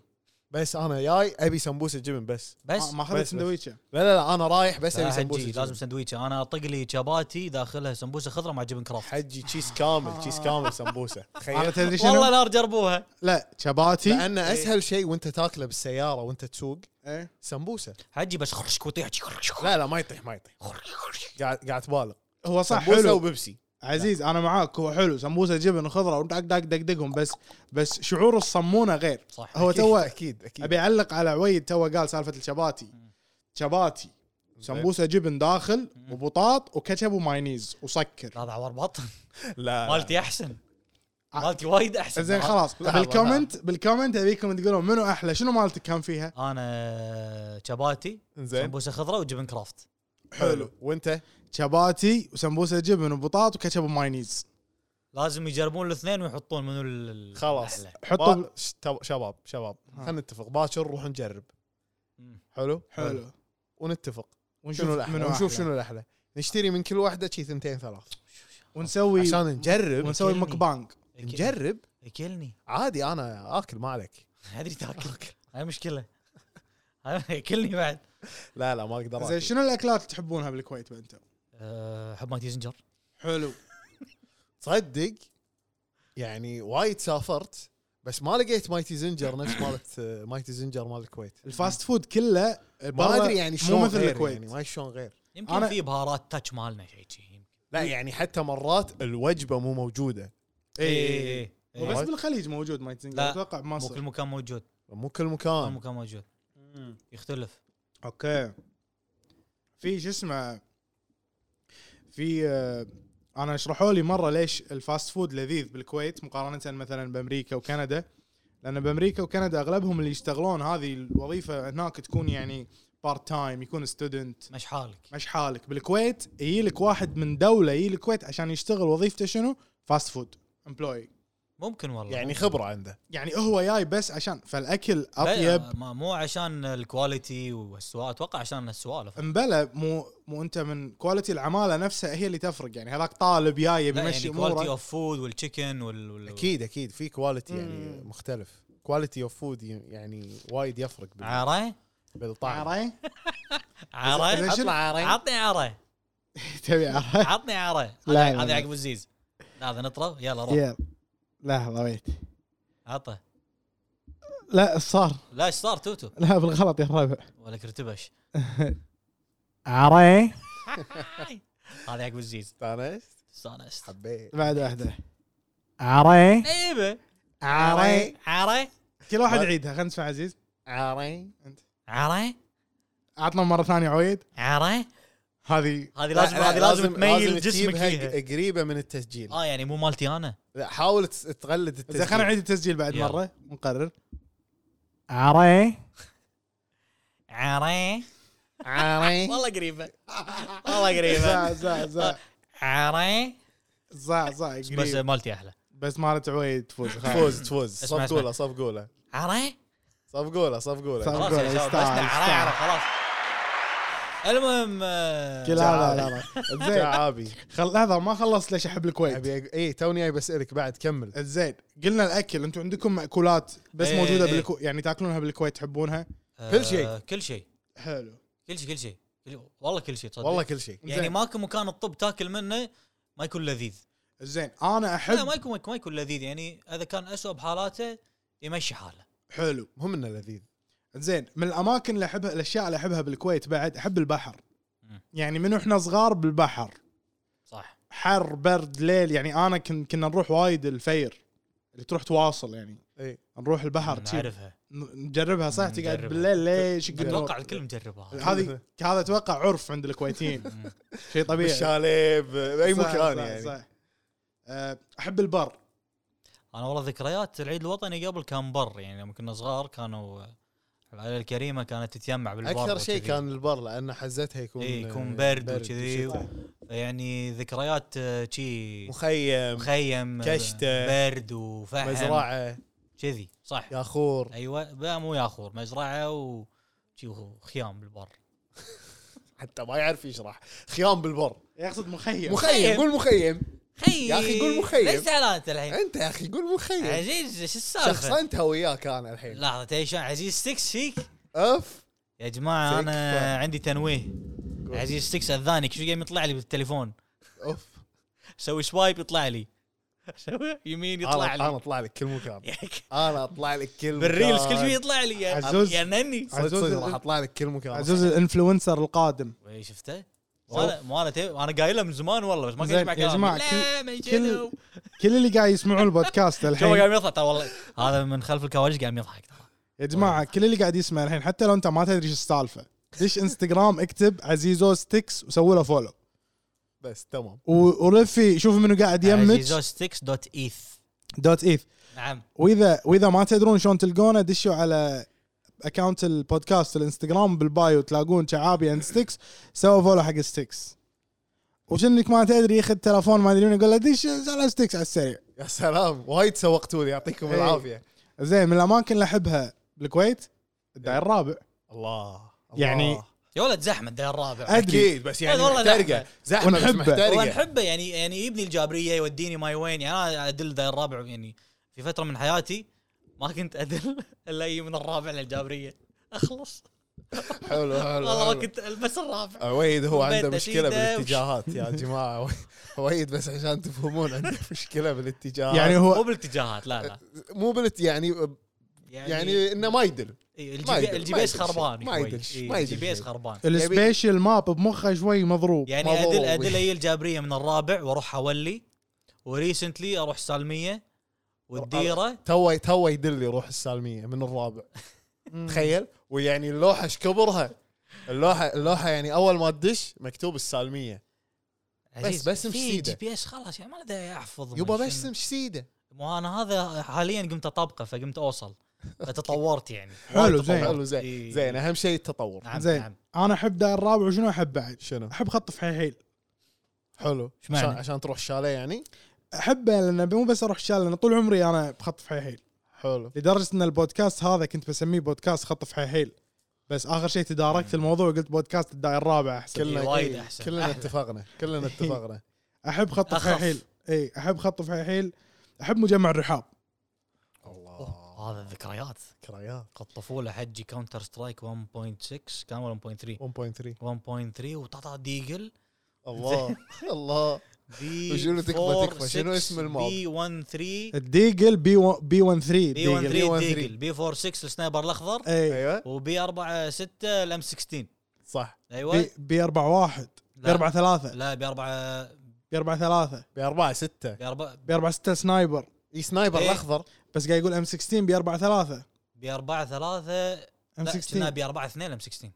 بس انا جاي ابي سمبوسه جبن بس بس آه، ما بس- اخذت بس. سندويشه لا لا لا انا رايح بس لا ابي حجي سمبوسه لازم لازم سندويشه انا اطق لي شباتي داخلها سمبوسه خضراء مع جبن كرافت حجي تشيز كامل تشيز كامل سمبوسه انا تخيل تدري والله شنو نار جربوها لا شباتي لان اسهل شيء وانت تاكله بالسياره وانت تسوق إيه. سمبوسه حجي بس خرشك وطيح خرشك لا لا ما يطيح ما يطيح خرشك. قاعد قاعد تبالغ هو صح سمبوسه حلو وبيبسي عزيز انا معاك هو حلو سمبوسه جبن وخضره ودق دق دق دقهم بس بس شعور الصمونه غير صح هو أكيد- تو اكيد اكيد ابي اعلق على عويد تو قال سالفه الشباتي شباتي سمبوسه جبن داخل وبطاط وكاتشب ومايونيز وسكر لا دعوة ربط لا مالتي احسن مالتي وايد آه. احسن زين خلاص لحظة، بالكومنت بالكومنت ابيكم تقولون منو احلى شنو مالتك كان فيها انا شباتي زين سمبوسه خضراء وجبن كرافت حلو وانت شباتي وسمبوسه جبن وبطاط وكاتشب ومايونيز لازم يجربون الاثنين ويحطون منو ال- ال- خلاص. الأحلى. حطوا با- ش- تو- شباب شباب خلينا نتفق باكر نروح نجرب مم. حلو حلو ونتفق ونشوف شنو الاحلى منو ونشوف أحلى. شنو الاحلى نشتري من كل واحده شي ثنتين ثلاث ونسوي عشان نجرب ونسوي كلني. مكبانج يك- نجرب يكلني عادي انا اكل ما عليك ادري تاكل هاي مشكله هاي يكلني بعد لا لا ما اقدر زين آكل. شنو الاكلات اللي تحبونها بالكويت انت أه، حب مالتي زنجر حلو تصدق يعني وايد سافرت بس ما لقيت مايتي زنجر نفس مالت آه، مايتي زنجر مال الكويت الفاست فود كله ما برا ادري يعني شلون مو مثل غير الكويت يعني ما أدري شلون غير يمكن أنا- في بهارات تاتش مالنا شيء شيء لا يعني حتى مرات الوجبه مو موجوده إيه، اي بس إيه. بالخليج موجود ما لا. تنقل اتوقع مو كل بمصر مكان موجود مو كل مو نعم. كل مكان مكان موجود يختلف اوكي في شو اسمه في آه، انا شرحوا لي مره ليش الفاست فود لذيذ بالكويت مقارنه مثلا بامريكا وكندا لان بامريكا وكندا اغلبهم اللي يشتغلون هذه الوظيفه هناك تكون يعني بارت تايم يكون ستودنت مش حالك مش حالك بالكويت يجي لك واحد من دوله يجي الكويت عشان يشتغل وظيفته شنو فاست فود امبلوي ممكن والله يعني خبره عنده يعني هو جاي بس عشان فالاكل لا، يعني اطيب ما- مو عشان الكواليتي والسوالف اتوقع عشان السوالف امبلا مو مو انت من كواليتي العماله نفسها هي اللي تفرق يعني هذاك طالب جاي لا، يمشي يعني كواليتي اموره اوف فود والتشيكن وال وال- اكيد اكيد في كواليتي يعني مم. مختلف كواليتي اوف فود يعني وايد يفرق بال- عاره بالطعم عري عاره إذا شنو- اطلع عرين. عطني عاره تبي عري عطني عاره لا، هذا لا، هذا لا. عقب الزيز لا، هذا نطره يلا روح يلا لحظه ويت عطه لا صار لا ايش صار توتو لا بالغلط يا الربع ولا كرتبش عري هذا عقب الزيز استانست استانست حبيت بعد واحده عري ايبه عري عاره كل واحد يعيدها خلينا نسمع عزيز عرين عاره عطنا مره ثانيه عويد عاره هذه هذه لازم هذه لازم تميل جسمك تجيبها فيها قريبه من التسجيل اه يعني مو مالتي انا لا حاول تس- تقلد زين خلينا التسجيل نعيد التسجيل بعد يلا. مره ونقرر عري عاره عرين والله قريبه والله قريبه زع زع زع عاره زع زع بس قريب. مالتي احلى بس مالت عويد تفوز خلاص. تفوز تفوز اسمع، صف اسمع. قوله صف قوله عاره صف قوله صف صف- قوله خلاص يا يستاهل، شباب بس يستاهل. عاره عاره خلاص المهم آه، كل لا لا لا زين تعابي خل لحظه ما خلصت ليش احب الكويت ابي أق- اي توني جاي بسالك بعد كمل زين قلنا الاكل انتم عندكم ماكولات بس إيه، موجوده إيه. بالكويت يعني تاكلونها بالكويت تحبونها آه، كل شيء. كل شيء حلو كل شيء كل شيء كل- والله كل شيء تصدق والله كل شيء يعني زين. ماكو مكان الطب تاكل منه ما يكون لذيذ زين انا لا ما احب يكون ما يكون لذيذ يعني اذا كان أسوأ بحالاته يمشي حاله حلو مهم انه لذيذ زين من الاماكن اللي احبها الاشياء اللي احبها بالكويت بعد احب البحر مم. يعني من احنا صغار بالبحر صح حر برد ليل يعني انا كن كنا نروح وايد الفير اللي تروح تواصل يعني اي نروح البحر شي- نعرفها ن- نجربها صح تقعد نجربها. بالليل ليش اتوقع الكل مجربها هذه هذا اتوقع عرف عند الكويتيين شيء طبيعي بالشاليب باي صح، مكان صح، يعني صح. أه، احب البر انا والله ذكريات العيد الوطني قبل كان بر يعني لما كنا صغار كانوا العائله الكريمه كانت تتجمع بالبر اكثر شيء وكذي. كان البر لان حزتها يكون إيه، يكون آه، برد وكذي. وشتاء. يعني ذكريات آه، شي مخيم مخيم كشتة. برد وفحم مزرعه كذي صح ياخور ايوه لا مو ياخور مزرعه و شي وخيام بالبر حتى ما يعرف يشرح خيام بالبر يقصد مخيم مخيم قول مخيم خيم يا أخي قول مخيم. ليش زعلان انت الحين انت يا اخي قول إيه. مخيم عزيز شو السالفه؟ شخصنتها وياك انا الحين لحظه تدري شلون عزيز 6 فيك؟ اف يا جماعه انا طيب. تكفى. عندي تنويه عزيز 6 اذانك شو قايم يطلع لي بالتليفون؟ اوف سوي سوايب يطلع لي سوي يمين يطلع انا لي أنا اطلع لك كل مكان انا اطلع لك كل مكان بالريلز كل شوي يطلع لي يا عزوز. يا نني صدق عزوز- صدق راح اطلع لك كل مكان عزوز الانفلونسر القادم وي، شفته؟ مو أنا- مو انا تي- انا قايله من زمان والله بس ما كنت زين، اسمع يا جماعة، كلام كل- لا ما كل يجينا. كل اللي قاعد يسمعون البودكاست تو الحين قام يضحك ترى طيب، والله هذا من خلف الكواليس قام يضحك ترى يا جماعه كل اللي قاعد يسمع الحين حتى لو انت ما تدري ايش السالفه دش انستغرام اكتب عزيزو ستكس وسوي له فولو بس تمام و- ولفي شوف منو قاعد يمج عزيزوستكس دوت ايث دوت ايث نعم واذا واذا ما تدرون شلون تلقونه دشوا على اكونت البودكاست الانستغرام بالبايو تلاقون شعابي اند ستكس سووا فولو حق ستكس وشنك ما تدري ياخذ تلفون ما ادري من يقول له دش على ستكس على السريع يا سلام وايد سوقتوا لي يعطيكم إيه. العافيه زين من الاماكن اللي احبها بالكويت الداير الرابع الله الله. يعني يا ولد زحمه الدير الرابع ادري اكيد بس يعني والله محترقه زحمة. زحمه بس ونحبه. هو محترقه نحبه يعني يعني يبني الجابريه يوديني ماي وين يعني انا ادل الدير الرابع يعني في فتره من حياتي ما كنت ادل الا أي من الرابع للجابريه اخلص حلو حلو والله حلو. ما كنت البس الرابع وايد هو عنده بيتنا مشكله شيدة وش- بالاتجاهات يا جماعه وايد بس عشان تفهمون عنده مشكله بالاتجاهات يعني مو هو بالاتجاهات لا لا مو بالات يعني يعني انه ما يدل إيه، ما الجي يدل- بي- الجي ما بي اس يدل شيء. خربان ما شوي. يدل شيء. إيه، ما الجي يدل بي اس شيء. خربان السبيشل ماب بمخه شوي مضروب يعني ما ادل ضروري. ادل اي الجابريه من الرابع واروح حولي وريسنتلي اروح سالميه والديره تو تو يدل يروح السالميه من الرابع تخيل ويعني اللوحه ايش كبرها اللوحه اللوحه يعني اول ما تدش مكتوب السالميه عزيز، بس في مسيدة. جي بي اس خلاص يعني ما لدي احفظ يبا من بس شنو. مش سيده مو انا هذا حاليا قمت اطبقه فقمت اوصل فتطورت يعني حلو زين حلو زين إيه. زين اهم شيء التطور نعم زين. نعم انا احب داير الرابع وشنو احب بعد شنو احب خط فحيحيل حلو إيش معنى؟ عشان, عشان تروح الشاليه يعني احبه لان مو بس اروح شال لان طول عمري انا بخط فحيحيل حلو لدرجه ان البودكاست هذا كنت بسميه بودكاست خط فحيحيل بس اخر شيء تداركت الموضوع وقلت بودكاست الداير الرابع احسن كلنا إيه، وايد إيه، أحسن. كلنا أحلى. اتفقنا كلنا اتفقنا احب خط أخف. فحيحيل اي احب خط فحيحيل احب مجمع الرحاب الله هذا الذكريات ذكريات الطفوله حجي كاونتر سترايك 1.6 كان ولا 1.3 1.3 1.3 وطاطا ديجل الله الله بي وشنو تكفى- تكفى؟ شنو اسم الماب؟ بي 1 3 الديجل بي و- بي 1 3 بي 1 ديجل B13. 3 ديجل بي 4 6 السنايبر الاخضر اي ايوه وبي 4 6 الام 16 صح ايوه بي 4 1 بي لا. 4 3 لا بي 4 بي 4 3 بأربعة ستة بي 4 بي 4 6 سنايبر اي سنايبر إيه. الاخضر بس قاعد يقول ام 16 بي 4 3 بي 4 3 ام لا كنا 16 بي 4 2 الام 16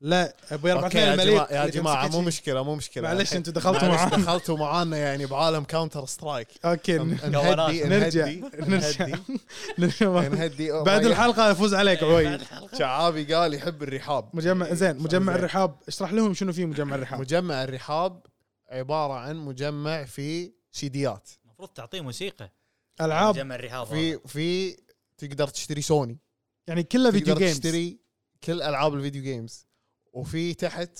لا ابو اربع أوكي اثنين يا المليت جماعة, يا اللي جماعة تمسكه مو شي. مشكلة مو مشكلة معلش الحين- انتوا دخلتوا معلش معانا دخلتوا معانا يعني بعالم كاونتر سترايك اوكي ن- نهدي نرجع نهدي نرجع نهدي نرجع نهدي بعد الحلقه يفوز عليك عوي شعابي قال يحب الرحاب مجمع زين مجمع إيه، زين. الرحاب اشرح لهم شنو في مجمع الرحاب مجمع الرحاب عبارة عن مجمع فيه سيديات المفروض تعطيه موسيقى العاب جمع الرحاب نعم. في في تقدر تشتري سوني يعني كلها فيديو تقدر جيمز تشتري كل العاب الفيديو جيمز وفي تحت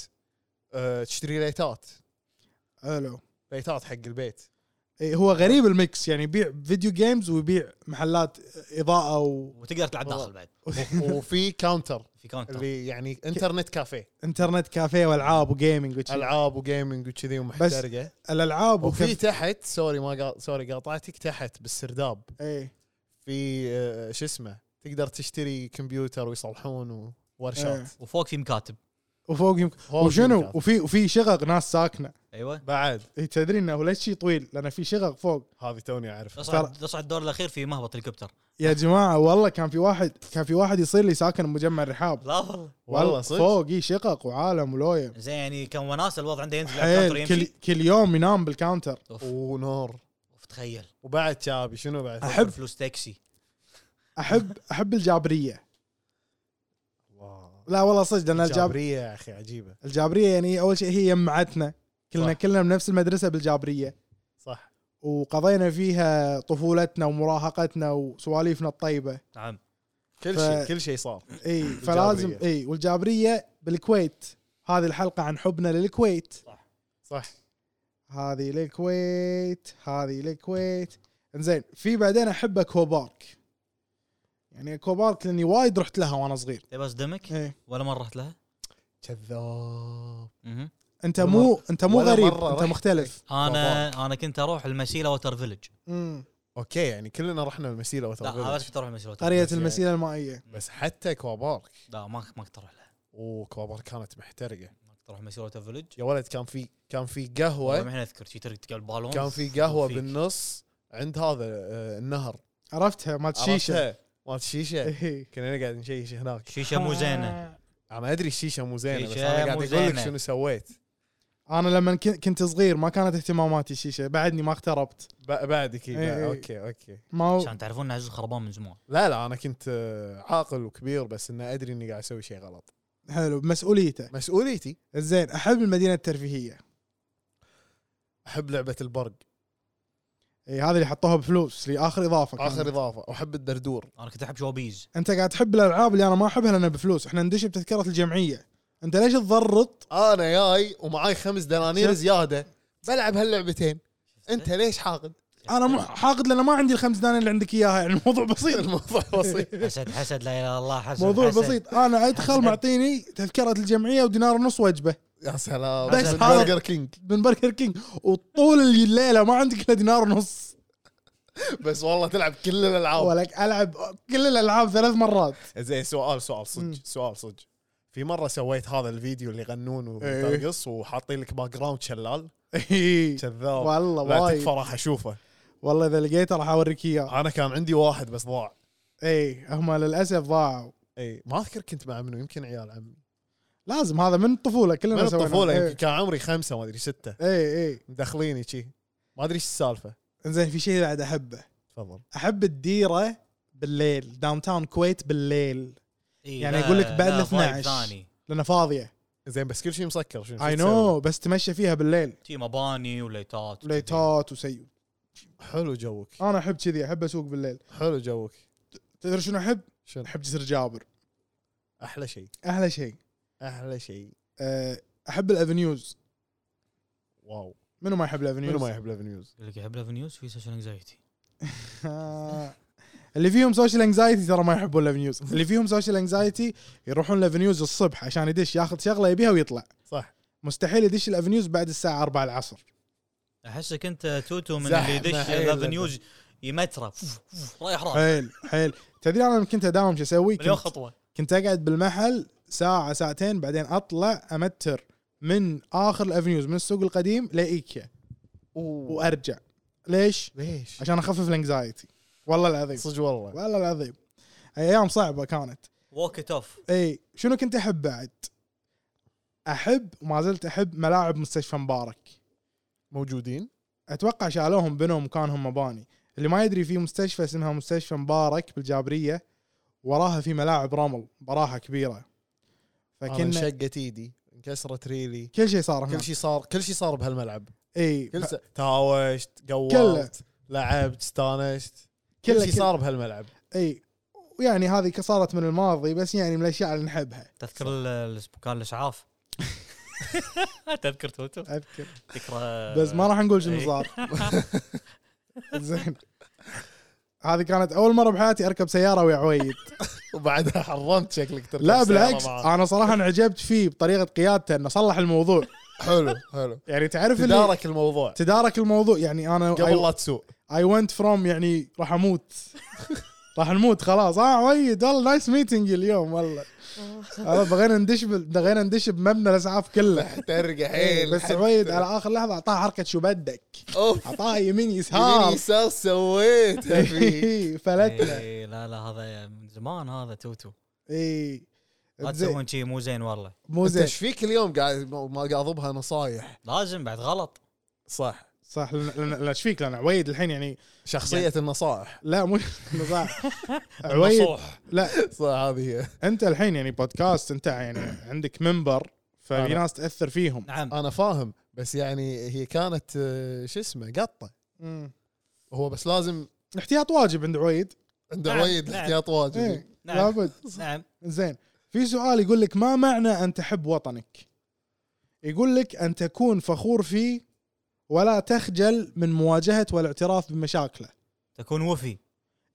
آه، تشتري ليتات حلو ليتات حق البيت إيه، هو غريب الميكس يعني يبيع فيديو جيمز ويبيع محلات اضاءه وتقدر تلعب داخل بعد وفي كاونتر في كاونتر اللي يعني انترنت كافيه وانترنت كافيه والعاب وجيمنج وشي. العاب وجيمنج وكذي ومحترقه الالعاب وفي وكيف تحت سوري ما قا... سوري قاطعتك تحت بالسرداب ايه في آه، شو اسمه تقدر تشتري كمبيوتر ويصلحون إيه. وورشات وفوق في مكاتب وفوق يمكن فوق وشنو يمكن. وفي وفي شقق ناس ساكنه ايوه بعد إيه، تدري انه ليش شي طويل لان في شقق فوق هذه توني اعرفها اصعد اصعد الدور الاخير في مهبط هليكوبتر يا جماعه والله كان في واحد كان في واحد يصير لي ساكن مجمع الرحاب لا والله والله صدق فوق إي شقق وعالم ولويم زين يعني كان وناس الوضع عنده ينزل على الكاونتر حيل كل يمشي كل يوم ينام بالكاونتر اوف ونور أوف، تخيل وبعد شابي شنو بعد أحب. فلوس تاكسي احب احب الجابريه الله لا والله صدق لان الجاب جابريه يا اخي عجيبه الجابريه يعني اول شيء هي يمعتنا كلنا صح. كلنا بنفس المدرسه بالجابريه صح وقضينا فيها طفولتنا ومراهقتنا وسواليفنا الطيبه نعم كل ف- شيء كل شيء صار اي فلازم اي والجابريه بالكويت هذه الحلقه عن حبنا للكويت صح هذه للكويت هذه للكويت انزين في بعدين احب اكوا بارك يعني اكوا بارك لاني وايد رحت لها وانا صغير تبي إيه. اصدمك ايه ولا مره رحت لها؟ كذاب مهم. انت ولا مو انت مو ولا غريب مرة انت رحت. مختلف انا انا كنت اروح المسيله ووتر فيلج مم. اوكي يعني كلنا رحنا المسيره لا انا بس وتر كنت اروح المسيله ووتر قريه بس يعني- المسيره المائيه بس حتى كوابارك لا ما ما كنت اروح لها وكوابارك كانت محترقه ما كنت تروح مسيره فيلج يا ولد كان في كان في والله قهوه ما اذكر شي ترك تقل بالون كان في قهوه فيك. بالنص عند هذا آه، النهر عرفتها مالت شيشه عرفتها؟ مالت شيشه إيه. كنا نقعد نشيش هناك شيشه مو زينه انا ما ادري الشيشه مو زينه بس شيشة انا قاعد مو اقول لك زينة. شنو سويت انا آه، لما كن- كنت صغير ما كانت اهتماماتي شيشه بعدني ما اقتربت ب- بعدك إيه، إيه، إيه. اوكي اوكي ما هو عشان تعرفون ان عزوز خربان من زمان لا لا انا كنت آه، عاقل وكبير بس اني ادري اني قاعد اسوي شيء غلط حلو مسؤوليته مسؤوليتي زين احب المدينه الترفيهيه احب لعبه البرق اي هذا إيه، اللي حطوها بفلوس لي اخر اضافه كانت. اخر اضافه واحب الدردور انا كنت احب شوبيز انت قاعد تحب الالعاب اللي انا ما احبها لانها بفلوس احنا ندش بتذكره الجمعيه انت ليش تضرط انا جاي ومعاي خمس دنانير شوف. زياده بلعب هاللعبتين انت ليش حاقد؟ انا مو حاقد لان ما عندي الخمس دنانير اللي عندك اياها يعني الموضوع بسيط الموضوع بسيط حسد حسد لا اله الا الله حسد موضوع حسد. بسيط انا ادخل معطيني تذكره الجمعيه ودينار ونص وجبه يا سلام بس من هذا- برجر كينج من برجر كينج وطول الليله ما عندك الا دينار ونص بس والله تلعب كل الالعاب ولك العب كل الالعاب ثلاث مرات زين سؤال سؤال مم. صدق سؤال صدق في مره سويت هذا الفيديو اللي يغنون إيه. وترقص وحاطين لك باك جراوند شلال كذاب والله إيه. لا وايد تكفى راح اشوفه والله اذا لقيته راح اوريك اياه انا كان عندي واحد بس ضاع اي إيه، هم للاسف ضاعوا اي ما اذكر كنت مع منو يمكن عيال عمي لازم هذا من الطفوله من كلنا إيه. الطفوله يمكن كان عمري خمسه ما ادري سته اي اي مدخليني شي ما ادري ايش السالفه زين إيه. في شيء بعد احبه تفضل احب الديره بالليل داون تاون كويت بالليل إيه، يعني لا- يقول لك بعد لا، ال vibe 12. ثاني لانها فاضيه زين بس كل شيء مسكر شنو شو اي تسوي؟ نو بس تمشى فيها بالليل شي مباني وليتات ليتات وسيو حلو جوك انا احب كذي احب اسوق بالليل حلو جوك تدري شنو احب؟ شنو احب جسر جابر احلى شيء احلى شيء احلى شيء أه، احب الافنيوز واو منو ما يحب الافنيوز؟ منو ما يحب الافنيوز يقول لك يحب لافنيوز في سيشن انكزايتي آه. اللي فيهم سوشيال انكزايتي ترى ما يحبون الافنيوز اللي فيهم سوشيال انكزايتي يروحون الافنيوز الصبح عشان يدش ياخذ شغله يبيها ويطلع صح مستحيل يدش الافنيوز بعد الساعه 4 العصر احسك انت توتو من زحمة اللي يدش حيل. لافنيوز يمترى فوف، فوف، رايح رايح حيل حيل تدري انا لما كنت اداوم شو اسوي؟ مليون كنت, خطوه كنت اقعد بالمحل ساعه ساعتين بعدين اطلع امتر من اخر الافنيوز من السوق القديم لايكيا وارجع ليش؟ ليش عشان اخفف الانكزايتي والله العظيم صدق والله والله العظيم ايام صعبه كانت ووك ات اوف اي شنو كنت احب بعد؟ احب وما زلت احب ملاعب مستشفى مبارك موجودين اتوقع شالوهم بنوا مكانهم مباني اللي ما يدري في مستشفى اسمها مستشفى مبارك بالجابريه وراها في ملاعب رمل براحه كبيره انا فكنا انشقت ايدي انكسرت ريلي كل شيء صار هناك كل شيء صار كل شيء صار بهالملعب اي كل س... تاوشت كله. قولت لعبت استانست كل كله- شيء كل- صار بهالملعب اي ويعني هذه ك- صارت من الماضي بس يعني من الاشياء اللي نحبها تذكر ال- الاسبوكان الاسعاف تذكر توتو اذكر تذكر بس ما راح نقول شنو إي. صار زين هذه كانت اول مره بحياتي اركب سياره ويا عويد وبعدها حرمت شكلك تركب لا سيارة بالعكس معاه. انا صراحه انعجبت فيه بطريقه قيادته انه صلح الموضوع حلو حلو يعني تعرف اللي تدارك الموضوع تدارك الموضوع يعني قبل انا لا تسوق اي ونت فروم يعني راح اموت راح نموت خلاص اه وايد والله نايس ميتنج اليوم والله والله بغينا ندش بال- بغينا ندش بمبنى الاسعاف كله ترقى حيل بس عويد على اخر لحظه اعطاه حركه شو بدك اوف اعطاه يمين يمين يسار يسار سويتها إيه، فيه فلتنا إيه، لا لا هذا من زمان هذا توتو اي لا إيه. زين، تسوون شيء مو زين والله مو انت زين ايش فيك اليوم قاعد ما قاعد اضبها نصايح لازم بعد غلط صح صح لأن- لأن- لا ايش فيك لان عويد الحين يعني شخصية النصائح لا مو صح عويد النصوح. لا صح هذه هي انت الحين يعني بودكاست انت يعني عندك منبر ففي أنا. ناس تاثر فيهم نعم انا فاهم بس يعني هي كانت آه، شو اسمه قطة مم. هو بس لازم احتياط واجب عند عويد عنده نعم، عويد نعم. احتياط واجب ايه نعم. لابد نعم زين في سؤال يقول لك ما معنى ان تحب وطنك؟ يقول لك ان تكون فخور فيه ولا تخجل من مواجهه والاعتراف بمشاكله. تكون وفي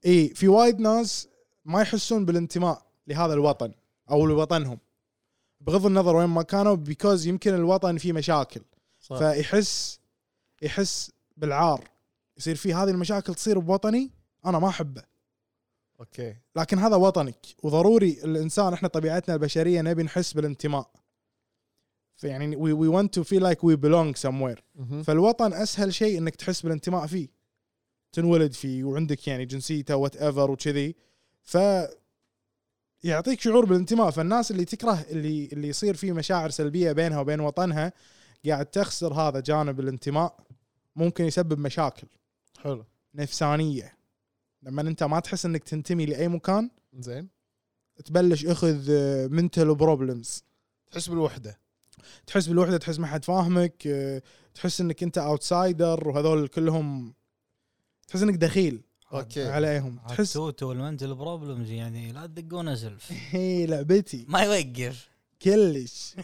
اي في وايد ناس ما يحسون بالانتماء لهذا الوطن او لوطنهم بغض النظر وين ما كانوا بيكوز يمكن الوطن فيه مشاكل صح. فيحس يحس بالعار يصير فيه هذه المشاكل تصير بوطني انا ما احبه اوكي لكن هذا وطنك وضروري الانسان احنا طبيعتنا البشريه نبي نحس بالانتماء فيعني وي وي ونت تو فيل لايك وي بيلونج سموير مهم. فالوطن اسهل شيء انك تحس بالانتماء فيه تنولد فيه وعندك يعني جنسيته وات ايفر وكذي ف يعطيك شعور بالانتماء فالناس اللي تكره اللي اللي يصير فيه مشاعر سلبيه بينها وبين وطنها قاعد تخسر هذا جانب الانتماء ممكن يسبب مشاكل حلو نفسانيه لما انت ما تحس انك تنتمي لاي مكان زين تبلش اخذ منتل بروبلمز تحس بالوحده تحس بالوحده تحس ما حد فاهمك آه، تحس انك انت اوتسايدر وهذول كلهم تحس انك دخيل أوكي. عليهم تحس تحس توتو المنتل بروبلمز يعني لا تدقون سلف هي إيه، لعبتي ما يوقف كلش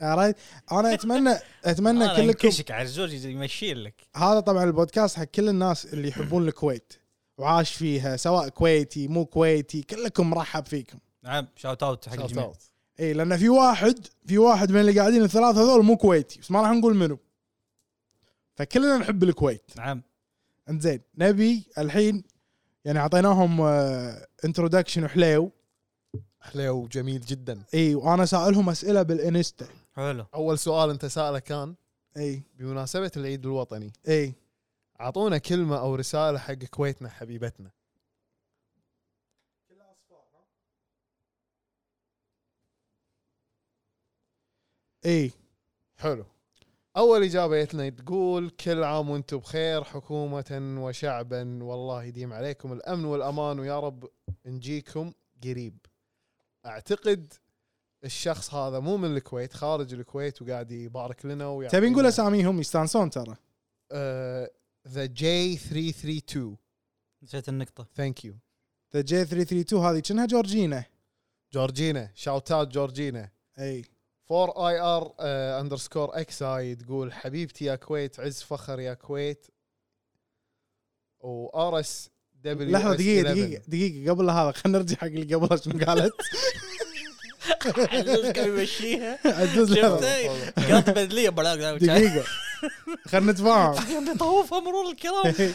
عرفت انا اتمنى اتمنى انا كلكم كلكم على الزوج يمشي لك هذا طبعا البودكاست حق كل الناس اللي يحبون الكويت وعاش فيها سواء كويتي مو كويتي كلكم مرحب فيكم نعم شاوت اوت حق Shout الجميع out. اي لان في واحد في واحد من اللي قاعدين الثلاثه هذول مو كويتي بس ما راح نقول منو فكلنا نحب الكويت نعم انزين نبي الحين يعني اعطيناهم آه، انتروداكشن حليو حلو جميل جدا اي وانا سائلهم اسئله بالانستا حلو اول سؤال انت ساله كان اي بمناسبه العيد الوطني اي اعطونا كلمه او رساله حق كويتنا حبيبتنا اي حلو اول اجابه جتنا تقول كل عام وانتم بخير حكومه وشعبا والله يديم عليكم الامن والامان ويا رب نجيكم قريب اعتقد الشخص هذا مو من الكويت خارج الكويت وقاعد يبارك لنا ويعطينا آه، تبي نقول اساميهم يستانسون ترى ذا جي 332 نسيت النقطه ثانك يو ذا جي 332 هذه كأنها جورجينا جورجينا شاوت اوت جورجينا اي 4 اي ار اندرسكور اكس اي تقول حبيبتي يا كويت عز فخر يا كويت وار اس دبليو لحظه دقيقه دقيقه دقيقه قبل هذا خلينا نرجع حق اللي قبلها شنو قالت الزوج كان يمشيها عزوز لحظة. شفته قط بدليه بلاك دقيقه خلينا نتفاهم طوفها مرور الكرام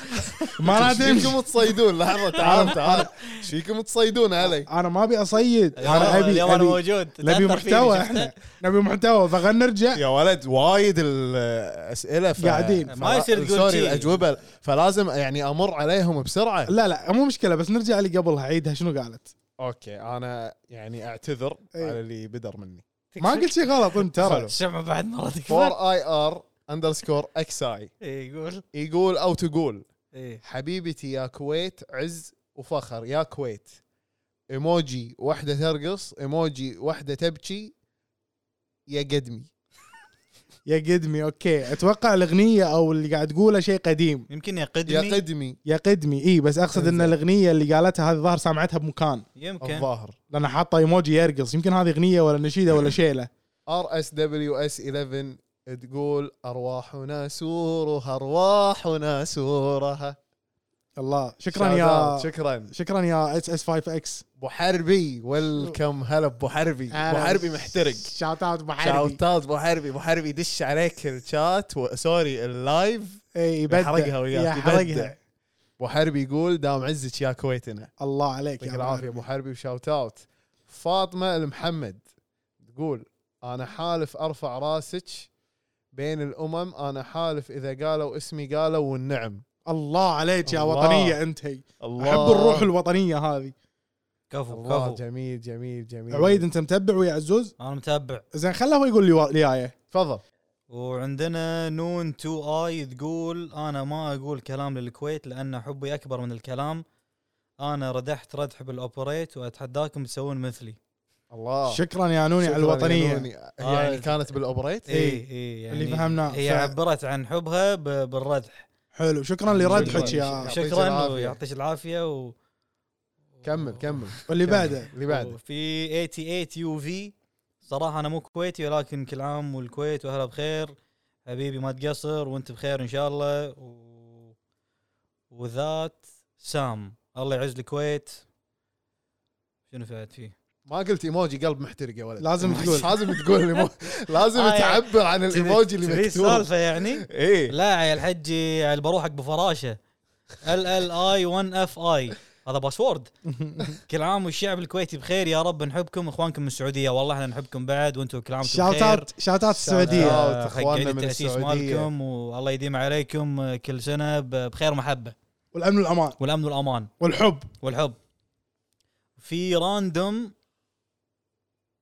ما راح ايش تمشي فيكم تصيدون لحظه تعال تعال ايش فيكم تصيدون علي انا ما ابي اصيد انا ابي اليوم انا ابي موجود نبي تأثر فيني، محتوى شفته؟ احنا نبي محتوى فخلنا نرجع يا ولد وايد الاسئله ف... قاعدين. ما يصير تقول سوري شي. الاجوبه فلازم يعني امر عليهم بسرعه لا لا مو مشكله بس نرجع اللي قبلها عيدها شنو قالت اوكي انا يعني اعتذر إيه. على اللي بدر مني ما قلت شيء غلط انت ترى سمع بعد مره تكفى 4 اي ار اندرسكور اكس اي إيه، يقول يقول او تقول إيه. حبيبتي يا كويت عز وفخر يا كويت ايموجي واحدة ترقص ايموجي واحدة تبكي يا قدمي يا قدمي اوكي اتوقع الاغنيه او اللي قاعد تقوله شيء قديم يمكن يا يقدمني قدمي يا قدمي اي بس اقصد ان إنزين. الاغنيه اللي قالتها هذه ظهر سمعتها بمكان يمكن الظاهر لان حاطه ايموجي يرقص يمكن هذه اغنيه ولا نشيده ولا شيله ار اس دبليو اس 11 تقول ارواحنا سورها ارواحنا سورها الله شكرا Shout يا out. شكرا شكرا يا اس اس 5 اكس ابو حربي ويلكم هلا ابو حربي ابو حربي محترق شاوت اوت ابو حربي شاوت اوت ابو حربي ابو حربي دش عليك الشات و- سوري اللايف اي يبدع. يحرقها وياك يبدع يحرقها ابو حربي يقول دام عزك يا كويتنا الله عليك يعطيك يا العافيه ابو حربي وشاوت اوت فاطمه المحمد تقول انا حالف ارفع راسك بين الامم انا حالف اذا قالوا اسمي قالوا والنعم الله عليك يا الله. وطنيه انت هي الله احب الروح الوطنيه هذه كفو الله كفو جميل جميل جميل عويد انت متبع ويا عزوز انا متابع زين خله هو يقول لي وا- لي آية. تفضل وعندنا نون تو اي تقول انا ما اقول كلام للكويت لان حبي اكبر من الكلام انا ردحت ردح بالاوبريت واتحداكم تسوون مثلي الله شكرا يا نوني على آه. شكراً الوطنيه يا نوني. يعني كانت بالاوبريت إيه. اي يعني اللي فهمناه. هي ف- عبرت عن حبها ب- بالردح حلو شكرا لردحك شكراً. يا يعطيك شكرا العافية. ويعطيك العافيه و... كمل كمل واللي بعده اللي بعد في 88 يو في صراحه انا مو كويتي ولكن كل عام والكويت واهلا بخير حبيبي ما تقصر وانت بخير ان شاء الله و... وذات سام الله يعز الكويت شنو فات فيه؟ ما قلت ايموجي قلب محترق يا ولد لازم تقول. لازم تقول الإيمو- لازم آه، يعني تعبر عن الايموجي اللي تبي مكتوب السالفه يعني؟ ايه لا يا الحجي يعني بروحك بفراشه ال ال اي 1 اف اي هذا باسورد كل عام والشعب الكويتي بخير يا رب نحبكم اخوانكم من السعوديه والله احنا نحبكم بعد وانتم كل عام وأنتم شاوت بخير اوت شاوت اوت السعوديه آه، آه، حق إخواننا عيد من التاسيس السعودية. مالكم والله يديم عليكم آه، كل سنه ب- بخير ومحبه والامن والامان والامن والامان والحب والحب في راندوم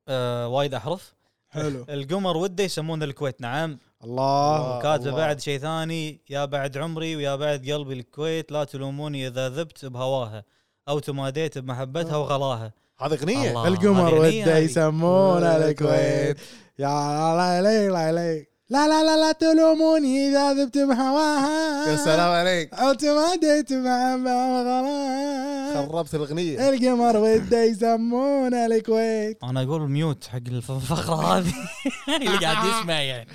آه وايد احرف حلو القمر وده يسمونه الكويت نعم الله آه، الله. وكاتبه بعد شيء ثاني يا بعد عمري ويا بعد قلبي الكويت لا تلوموني اذا ذبت بهواها او تماديت بمحبتها وغلاها هذه اغنيه الله. القمر آه، هذه وده يعني هنية هذه. يسمونه الكويت يا لا لا لا لا لا لا لا لا تلوموني اذا ذبت بهواها يا سلام عليك او تماديت مع غرام خربت إيه. الاغنيه القمر وده يسمونه الكويت انا اقول ميوت حق الف- الفقره هذه اللي قاعد يسمع يعني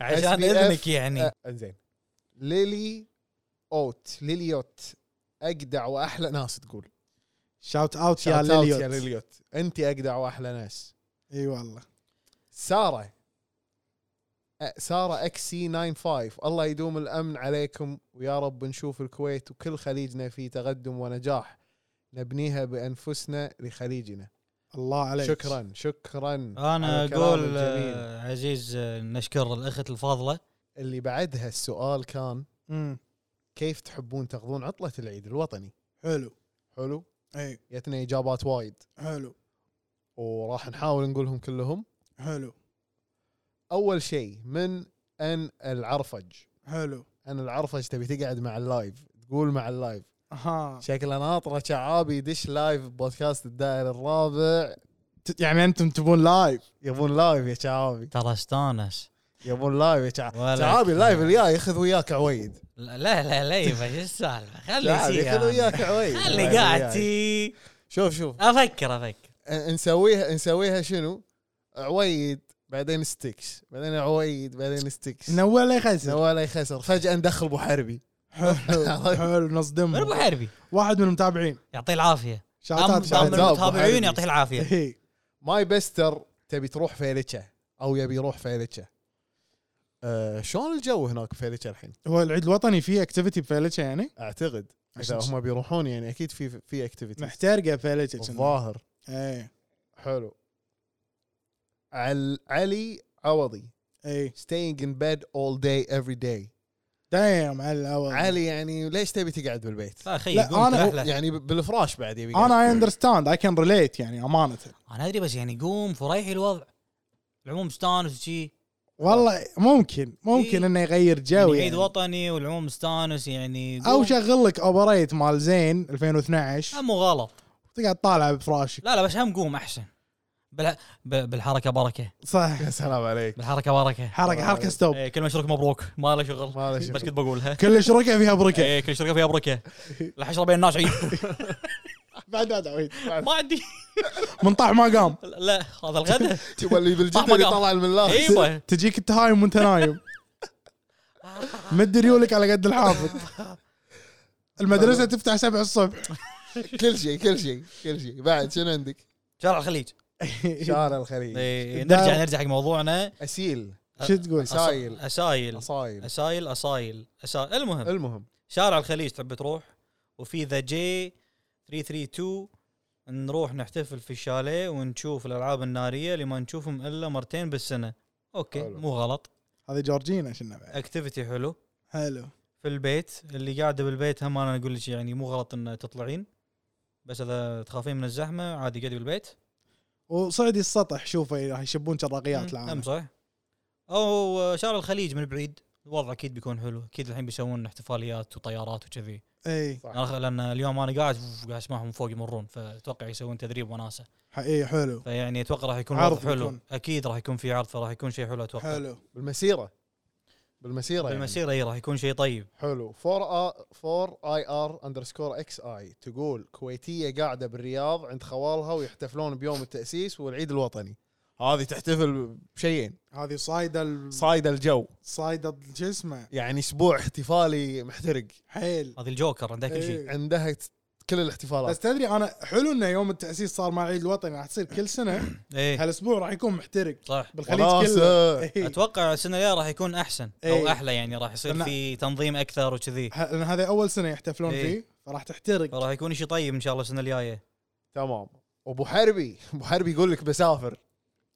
عشان SBF. اذنك يعني آه، انزين ليلي اوت ليليوت اجدع واحلى ناس تقول شاوت اوت يا Shout out يا ليليوت ليليوت انت اجدع واحلى ناس اي والله ساره أ- ساره اكس سي 95 الله يدوم الامن عليكم ويا رب نشوف الكويت وكل خليجنا في تقدم ونجاح نبنيها بانفسنا لخليجنا الله عليك شكرا شكرا انا على كلامك اقول الجميل. آه، عزيز آه، نشكر الاخت الفاضله اللي بعدها السؤال كان امم كيف تحبون تقضون عطله العيد الوطني حلو حلو اي جتنا اجابات وايد حلو وراح نحاول نقولهم كلهم حلو اول شيء من ان العرفج حلو ان العرفج تبي تقعد مع اللايف تقول مع اللايف ها شكله ناطره شعابي يدش لايف بودكاست الدائري الرابع ت- يعني انتم تبون لايف يبون لايف يا شعابي ترى استانس يبون لايف يا شعابي ولا شعابي كلام. اللايف الجاي ياخذ وياك عويد لا لا لا يبا شو السالفه خلي شعابي ياخذ يصير يعني. وياك عويد يعني خلي قاعد تي شوف شوف افكر افكر أ- نسويها نسويها شنو؟ عويد بعدين ستيكس بعدين عويد بعدين ستيكس نوع لا يخسر ولا يخسر فجاه ندخل بحربي حلو حلو نصدم من ابو حربي واحد من المتابعين يعطيه العافيه شاوت طم اوت طم شاوت أبو حربي. المتابعين يعطيه العافيه اوت ماي بستر تبي تروح فيلتشة او يبي يروح فيلتشة أه شلون الجو هناك بفيلتشة الحين؟ هو العيد الوطني فيه اكتيفيتي بفيلتشا يعني اعتقد عشان اذا هم بيروحون يعني اكيد في في اكتيفيتي محترقه فيلتشا الظاهر اي حلو عل علي عوضي اي staying in bed all day every day دايم على الاول علي يعني ليش تبي تقعد بالبيت؟ لا اخي لا، يقول أنا- أحلى. يعني بالفراش بعد يبي انا اي يقعد. اندرستاند اي كان ريليت يعني امانه انا ادري بس يعني قوم فريحي الوضع العموم مستانس وشي والله ممكن ممكن إي. انه يغير جو يعني عيد يعني. وطني والعموم مستانس يعني او قوم. شغل لك اوبريت مال زين 2012 هم غلط تقعد طالع بفراشك لا لا بس هم قوم احسن بالح... ب- بالحركه بركه صح يا سلام عليك بالحركه بركه حركه حركه ستوب إيه، كلمه شركه مبروك ما له شغل ما له شغل. بس كنت بقولها كل شركه فيها بركه إيه، كل شركه فيها بركه الحشره بين الناس عيد بعد بعد عويد ما عندي من طاح ما قام لا هذا الغداء شوف اللي بالجد طحمة اللي قام. طلع الملاص ايوه تجيك انت هايم وانت نايم مد ريولك على قد الحافظ المدرسه تفتح 7 الصبح كل شيء كل شيء كل شيء بعد شنو عندك؟ شارع الخليج شارع الخليج إيه، نرجع نرجع حق موضوعنا اسيل شو تقول؟ أص- أصايل. اسايل اصايل اسايل اسايل اسايل المهم المهم شارع الخليج تحب تروح وفي ذا جي 332 نروح نحتفل في الشاليه ونشوف الالعاب الناريه اللي ما نشوفهم الا مرتين بالسنه اوكي حلو. مو غلط هذه جورجينا شنو بعد اكتيفيتي حلو حلو في البيت اللي قاعده بالبيت هم انا اقول لك يعني مو غلط ان تطلعين بس اذا تخافين من الزحمه عادي قعدي بالبيت وصعدي السطح شوفه راح يشبون شراقيات مم، العالم امزح او شارع الخليج من بعيد الوضع اكيد بيكون حلو اكيد الحين بيسوون احتفاليات وطيارات وكذي اي صح. أنا خ- لان اليوم انا قاعد أوف، قاعد اسمعهم فوق يمرون فاتوقع يسوون تدريب وناسه اي حلو فيعني اتوقع راح يكون عرض عرض حلو بيكون. اكيد راح يكون في عرض فراح يكون شيء حلو اتوقع حلو حلو بالمسيره بالمسيره يعني. المسيره اي راح يكون شيء طيب حلو 4 4 اي ار اندرسكور اكس اي تقول كويتيه قاعده بالرياض عند خوالها ويحتفلون بيوم التاسيس والعيد الوطني هذه تحتفل بشيئين هذه صايده ال- صايده الجو صايده شو اسمه يعني اسبوع احتفالي محترق حيل هذه الجوكر عندها كل شيء إيه. عندها ت- كل بس الاحتفالات تدري انا حلو انه يوم التاسيس صار مع العيد الوطني راح تصير كل سنه ايه هالاسبوع راح يكون محترق صح بالخليج وناسة. كله إي. اتوقع السنه الجايه راح يكون احسن او إيه. احلى يعني راح يصير لأن- في تنظيم اكثر وكذي ه- لأن هذا اول سنه يحتفلون إيه. إي. فيه فراح تحترق راح يكون شيء طيب ان شاء الله السنه الجايه إيه. تمام ابو حربي ابو حربي يقول لك بسافر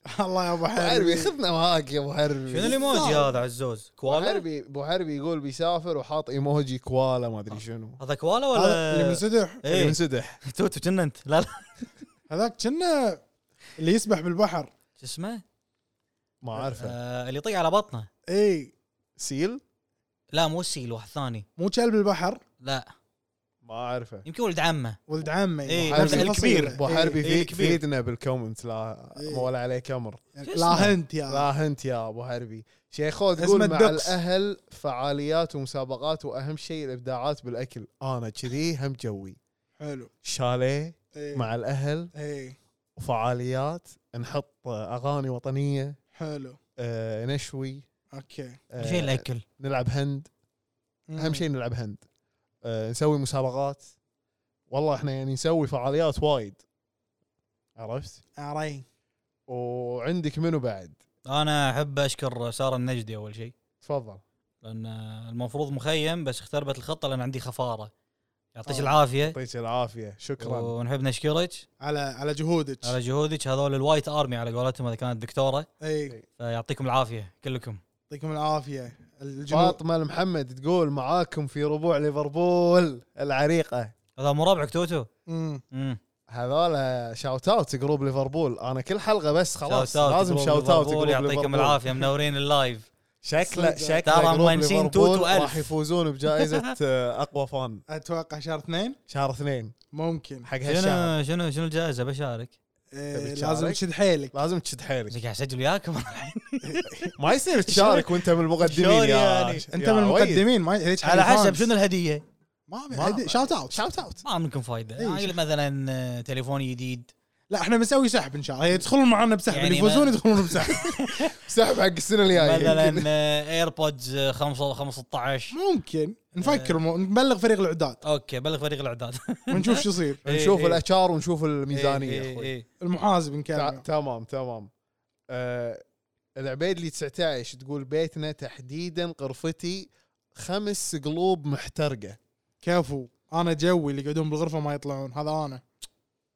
الله يا ابو ابو حربي حربي خذنا معاك يا ابو حربي شنو الايموجي هذا عزوز ابو كوالا حربي ابو حربي يقول بيسافر وحاط ايموجي كوالا ما آه. ادري شنو هذا كوالا هذا اللي ولا منسدح اللي ايه منسدح توتو كنا انت لا لا هذاك كنا اللي يسبح بالبحر شو اسمه ما اعرفه آه، اللي يطيق على بطنه اي سيل لا مو السيل واحد ثاني إيه، مو كلب البحر لا ما اعرفه يمكن ولد عمه ولد عمه إيه، نفس الكبير. الفصيلة. ابو إيه. حربي إيه، في كبير. فيدنا بالكومنت لا إيه. ولا عليه كمر لا هنت آه. يا لا هنت يا ابو حربي شيخو اسمه تقول مع الدقس. الاهل فعاليات ومسابقات واهم شيء الابداعات بالاكل انا كذي هم جوي حلو شاليه إيه. مع الاهل اي وفعاليات نحط اغاني وطنيه حلو آه، نشوي اوكي آه، شيء الاكل نلعب هند اهم شيء نلعب هند آه، نسوي مسابقات والله احنا يعني نسوي فعاليات وايد عرفت عري وعندك منو بعد انا احب اشكر ساره النجدي اول شيء تفضل لان المفروض مخيم بس اختربت الخطه لان عندي خفاره يعطيك آه. العافيه يعطيك العافيه شكرا ونحب نشكرك على على جهودك على جهودك هذول الوايت ارمي على قولتهم هذا كانت دكتوره اي فيعطيكم العافيه كلكم إيه، يعطيكم العافيه الجنود فاطمه المحمد تقول معاكم في ربوع ليفربول العريقه هذا مو ربعك توتو مم. امم هذول شاوت اوت جروب ليفربول انا كل حلقه بس خلاص Shout out لازم جروب شاوت اوت ليفربول، جروب يعطيكم ليفربول. العافيه منورين اللايف شكله صدق. شكله ترى جروب هم نسين توت ليفربول وألف. راح يفوزون بجائزه آه، اقوى فان اتوقع شهر اثنين شهر اثنين ممكن حق هالشهر شنو شنو شنو الجائزه بشارك؟ إيه تبي لازم تشارك؟ تشد حيلك لازم تشد زين حيلك قاعد اسجل وياكم الحين. ما يصير تشارك وانت من المقدمين شلون يا يعني؟ انت يا من ويد. المقدمين ما هيك على حق حسب fans. شنو الهديه؟ ما ما- ابي شاوت اوت شاوت اوت ما منكم فايده إي. يعني مثلا آه، تليفون جديد لا احنا بنسوي سحب ان شاء الله يدخلون معنا بسحب يعني اللي يفوزون ما- يدخلون بسحب سحب حق السنه الجايه مثلا يمكن. آه، ايربودز 5 15 ممكن نفكر مو- نبلغ فريق الاعداد اوكي بلغ فريق الاعداد ونشوف شو يصير نشوف إيه. الاتشار ونشوف إيه، الميزانيه إيه، اخوي إيه. المحاسب تا- نكلمه تمام تمام آه، العبيد اللي 19 تقول بيتنا تحديدا قرفتي خمس قلوب محترقه كفو انا جوي اللي يقعدون بالغرفه ما يطلعون هذا انا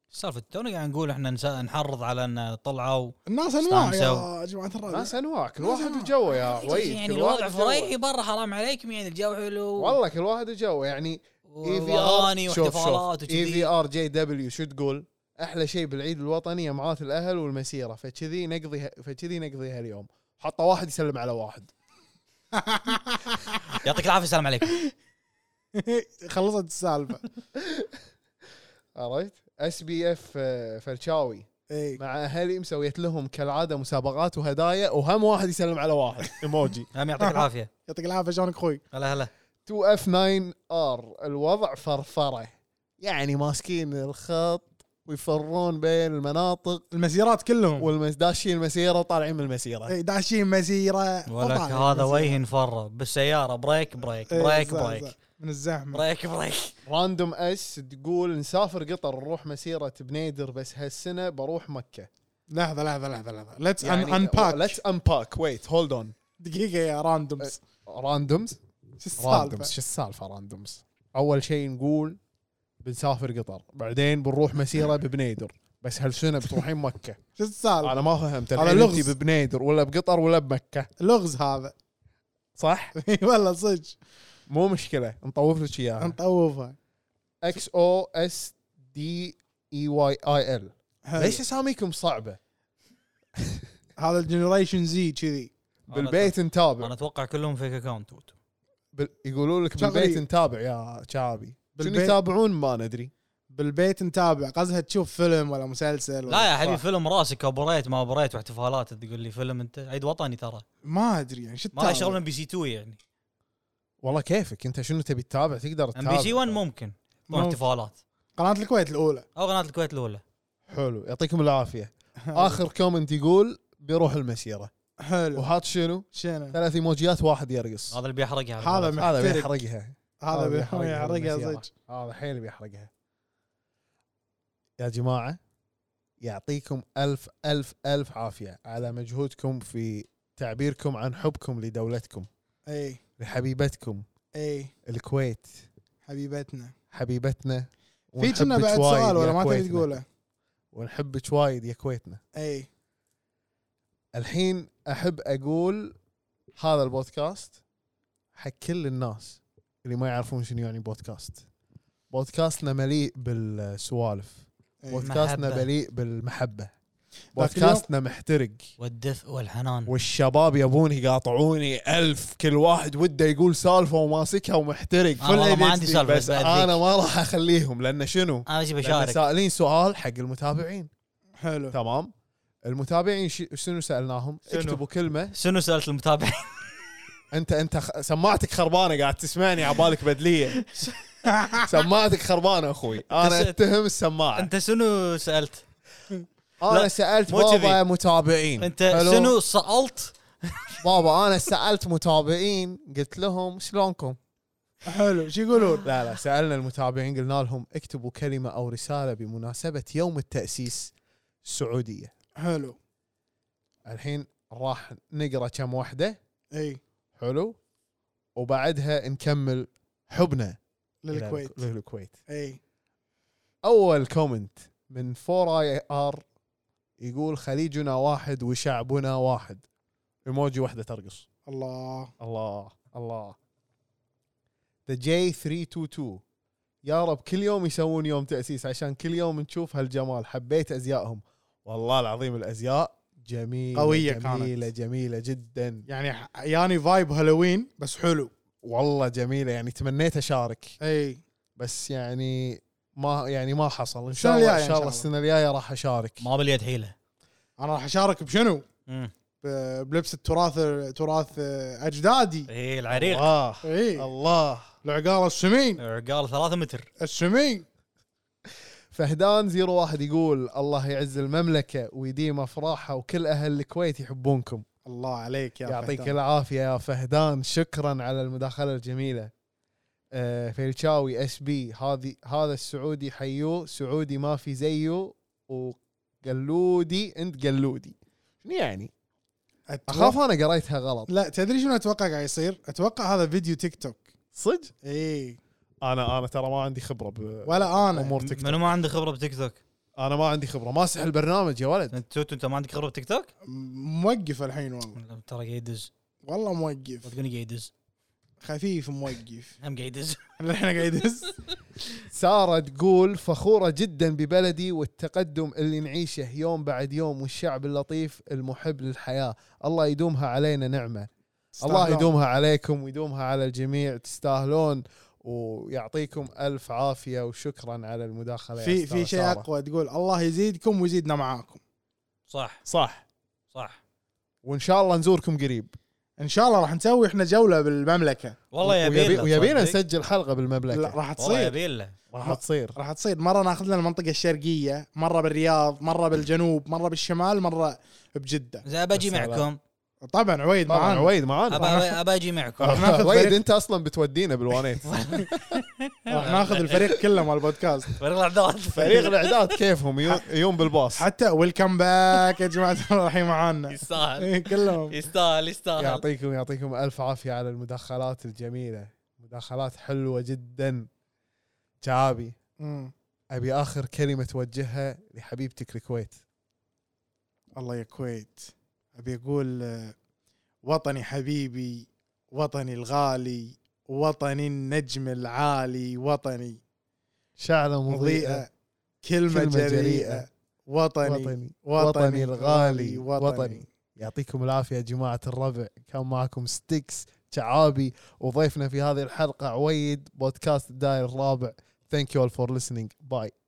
سالفه تونا قاعد نقول احنا نسا- نحرض على ان طلعوا الناس انواع استانسوا. يا جماعه الراديو ناس انواع كل ناس واحد أنواع. وجوه يا ويد يعني كل الوضع واحد وجوه. فريحي برا حرام عليكم يعني الجو حلو والله كل واحد وجوه يعني اي في واغاني واحتفالات اي وكذي في ار جي دبليو شو تقول؟ احلى شيء بالعيد الوطني يمعات الاهل والمسيره فكذي نقضي فكذي نقضيها اليوم حطه واحد يسلم على واحد يعطيك العافيه السلام عليكم خلصت السالفه عرفت؟ اس بي اف فرشاوي اي مع اهلي مسويت لهم كالعاده مسابقات وهدايا وهم واحد يسلم على واحد ايموجي هم نعم، يعطيك العافيه يعطيك العافيه شلونك اخوي هلا هلا 2 اف 9 ار الوضع فرفره يعني ماسكين الخط ويفرون بين المناطق المسيرات كلهم والمداشين المسيره وطالعين من المسيره إي، داشين مسيره ولك وطالعين هذا مسيرة. وجه فرة بالسياره بريك بريك إي، بريك إيه، صح، بريك صح. من الزحمه بريك بريك راندوم اس تقول نسافر قطر نروح مسيره بنيدر بس هالسنه بروح يعني مكه لحظه لحظه لحظه لحظه ليتس يعني انباك ليتس انباك ويت هولد اون دقيقه يا راندومز إيه. راندومز شو راندومز السالفه شو السالفه راندومز اول شيء نقول بنسافر قطر بعدين بنروح مسيره ببنيدر بس هالسنه بتروحين مكه شو السالفه انا ما فهمت هذا الحين لغز. انت ببنيدر ولا بقطر ولا بمكه لغز هذا صح إي والله صدق مو مشكله نطوف لك اياها نطوفها اكس او اس دي اي واي اي ال حلو. ليش اساميكم صعبه هذا الجنريشن زي كذي بالبيت انا نتابع اتوقع كلهم فيك اكونت بال... يقولوا لك شغلي. بالبيت نتابع يا شعبي شنو بالبيت- يتابعون ما ندري بالبيت نتابع قصدها تشوف فيلم ولا مسلسل ولا لا يا حبيبي فيلم راسك اوبريت ما اوبريت واحتفالات تقول لي فيلم انت عيد وطني ترى ما ادري يعني شو ما له تتابع؟ شغل ام بي سي 2 يعني والله كيفك انت شنو تبي تتابع تقدر ام تتابع بي سي 1 ممكن ممكن. احتفالات قناه الكويت الاولى او قناه الكويت الاولى حلو يعطيكم العافيه اخر كومنت يقول بيروح المسيره حلو وهات شنو شنو ثلاث ايموجيات واحد يرقص هذا اللي بيحرقها على هذا قولتهم. هذا محترق. بيحرقها هذا بي- يحرقها المسيرة. صدق هذا حيل بيحرقها يا جماعة يعطيكم ألف ألف ألف عافية على مجهودكم في تعبيركم عن حبكم لدولتكم اي لحبيبتكم اي الكويت حبيبتنا حبيبتنا في كنا ونحبك بعد وايد سؤال يا ولا ما تبي كويتنا. تقوله ونحبك وايد يا كويتنا اي الحين احب اقول هذا البودكاست حق كل الناس اللي ما يعرفون شنو يعني بودكاست بودكاستنا مليء بالسوالف إي. بودكاستنا محبة. مليء بالمحبه إيه، اليوم- بودكاستنا محترق والدفء والحنان والشباب يبون يقاطعوني ألف كل واحد وده يقول سالفه وماسكها ومحترق أنا والله Full ما ADHD عندي سالفة، بس بس بأذيك. انا ما راح اخليهم لان شنو؟ انا اجي لأن بشارك سائلين سؤال حق المتابعين حلو تمام المتابعين ش- شنو سالناهم؟ شنو؟ اكتبوا كلمه شنو سالت المتابعين انت انت خ- سماعتك خربانه قاعد تسمعني عبالك بدليه سماعتك خربانه اخوي انا أنت- اتهم السماعه انت شنو سالت؟ انا لا، سالت مو كذي. بابا متابعين انت حلو؟ شنو سالت؟ بابا انا سالت متابعين قلت لهم شلونكم؟ حلو شو يقولون؟ لا لا سالنا المتابعين قلنا لهم اكتبوا كلمه او رساله بمناسبه يوم التاسيس السعوديه حلو الحين راح نقرا كم واحده اي حلو وبعدها نكمل حبنا إلى للكويت الك- للكويت اي اول كومنت من 4 اي ار يقول خليجنا واحد وشعبنا واحد ايموجي واحده ترقص الله الله الله ذا جي 322 يا رب كل يوم يسوون يوم تاسيس عشان كل يوم نشوف هالجمال حبيت ازيائهم والله العظيم الازياء جميله قوية جميله جميله جدا يعني ح- ياني فايب هالوين بس حلو والله جميله يعني تمنيت اشارك اي بس يعني ما يعني ما حصل ان السنة شاء الله الجاية ان شاء الله السنه الجايه راح اشارك ما باليد حيله انا راح اشارك بشنو؟ مم. ب- بلبس التراث تراث اجدادي اي العريق الله اي إيه. الله العقال السمين عقال ثلاثة متر السمين فهدان زيرو واحد يقول الله يعز المملكه ويديم افراحها وكل اهل الكويت يحبونكم الله عليك يا يعطيك فهدان. العافيه يا فهدان شكرا على المداخله الجميله آه فيلشاوي اس بي هذه هذا السعودي حيو سعودي ما في زيه وقلودي انت قلودي شنو يعني؟ أتوقع- اخاف انا قريتها غلط لا تدري شنو اتوقع قاعد يصير؟ اتوقع هذا فيديو تيك توك صدق؟ اي انا انا ترى ما عندي خبره ب... ولا انا امور تيك توك منو ما عنده خبرة بتيك توك؟ انا ما عندي خبره ما اسحل برنامج يا ولد انت توتو انت ما عندك خبرة بتيك توك؟ م- موقف الحين والله ترى قاعد يدز والله موقف صدقني قاعد يدز خفيف موقف هم قاعد يدز احنا قاعد يدز سارة تقول فخورة جدا ببلدي والتقدم اللي نعيشه يوم بعد يوم والشعب اللطيف المحب للحياة الله يدومها علينا نعمة الله يدومها عليكم ويدومها على الجميع تستاهلون ويعطيكم ألف عافية وشكرا على المداخلة يا في أستاذة في شيء سارة. اقوى تقول الله يزيدكم ويزيدنا معاكم صح صح صح وإن شاء الله نزوركم قريب ان شاء الله راح نسوي احنا جوله بالمملكه والله ويبي- يبيله ويبينا تصدق. نسجل حلقة لا بالمملكة راح والله تصير يبيله راح تصير راح تصير مره ناخذ لنا المنطقه الشرقيه مره بالرياض مره بالجنوب مره بالشمال مره بجده زين بجي بس على- معكم طبعا عويد طبعا معانا عويد معانا باجي معكم ناخذ ويد فريق. انت اصلا بتودينا بالوانيت راح ناخذ الفريق كله مال البودكاست فريق الاعداد فريق الاعداد كيفهم يو- يوم بالباص حتى ويلكم باك يا جماعه الراحين معانا يستاهل إيه، كلهم يستاهل يستاهل يعطيكم يعطيكم الف عافيه على المداخلات الجميله مداخلات حلوه جدا شعابي مم. ابي اخر كلمه توجهها لحبيبتك الكويت الله يا كويت ابي اقول آه، وطني حبيبي وطني الغالي وطني النجم العالي وطني شعله مضيئه مضيئة كلمة كلمة جريئة جريئة. وطني وطني وطني الغالي وطني وطني يعطيكم العافيه يا جماعه الربع كان معكم ستيكس شعابي وضيفنا في هذه الحلقه عويد بودكاست الدائر الرابع ثانك يو all فور listening باي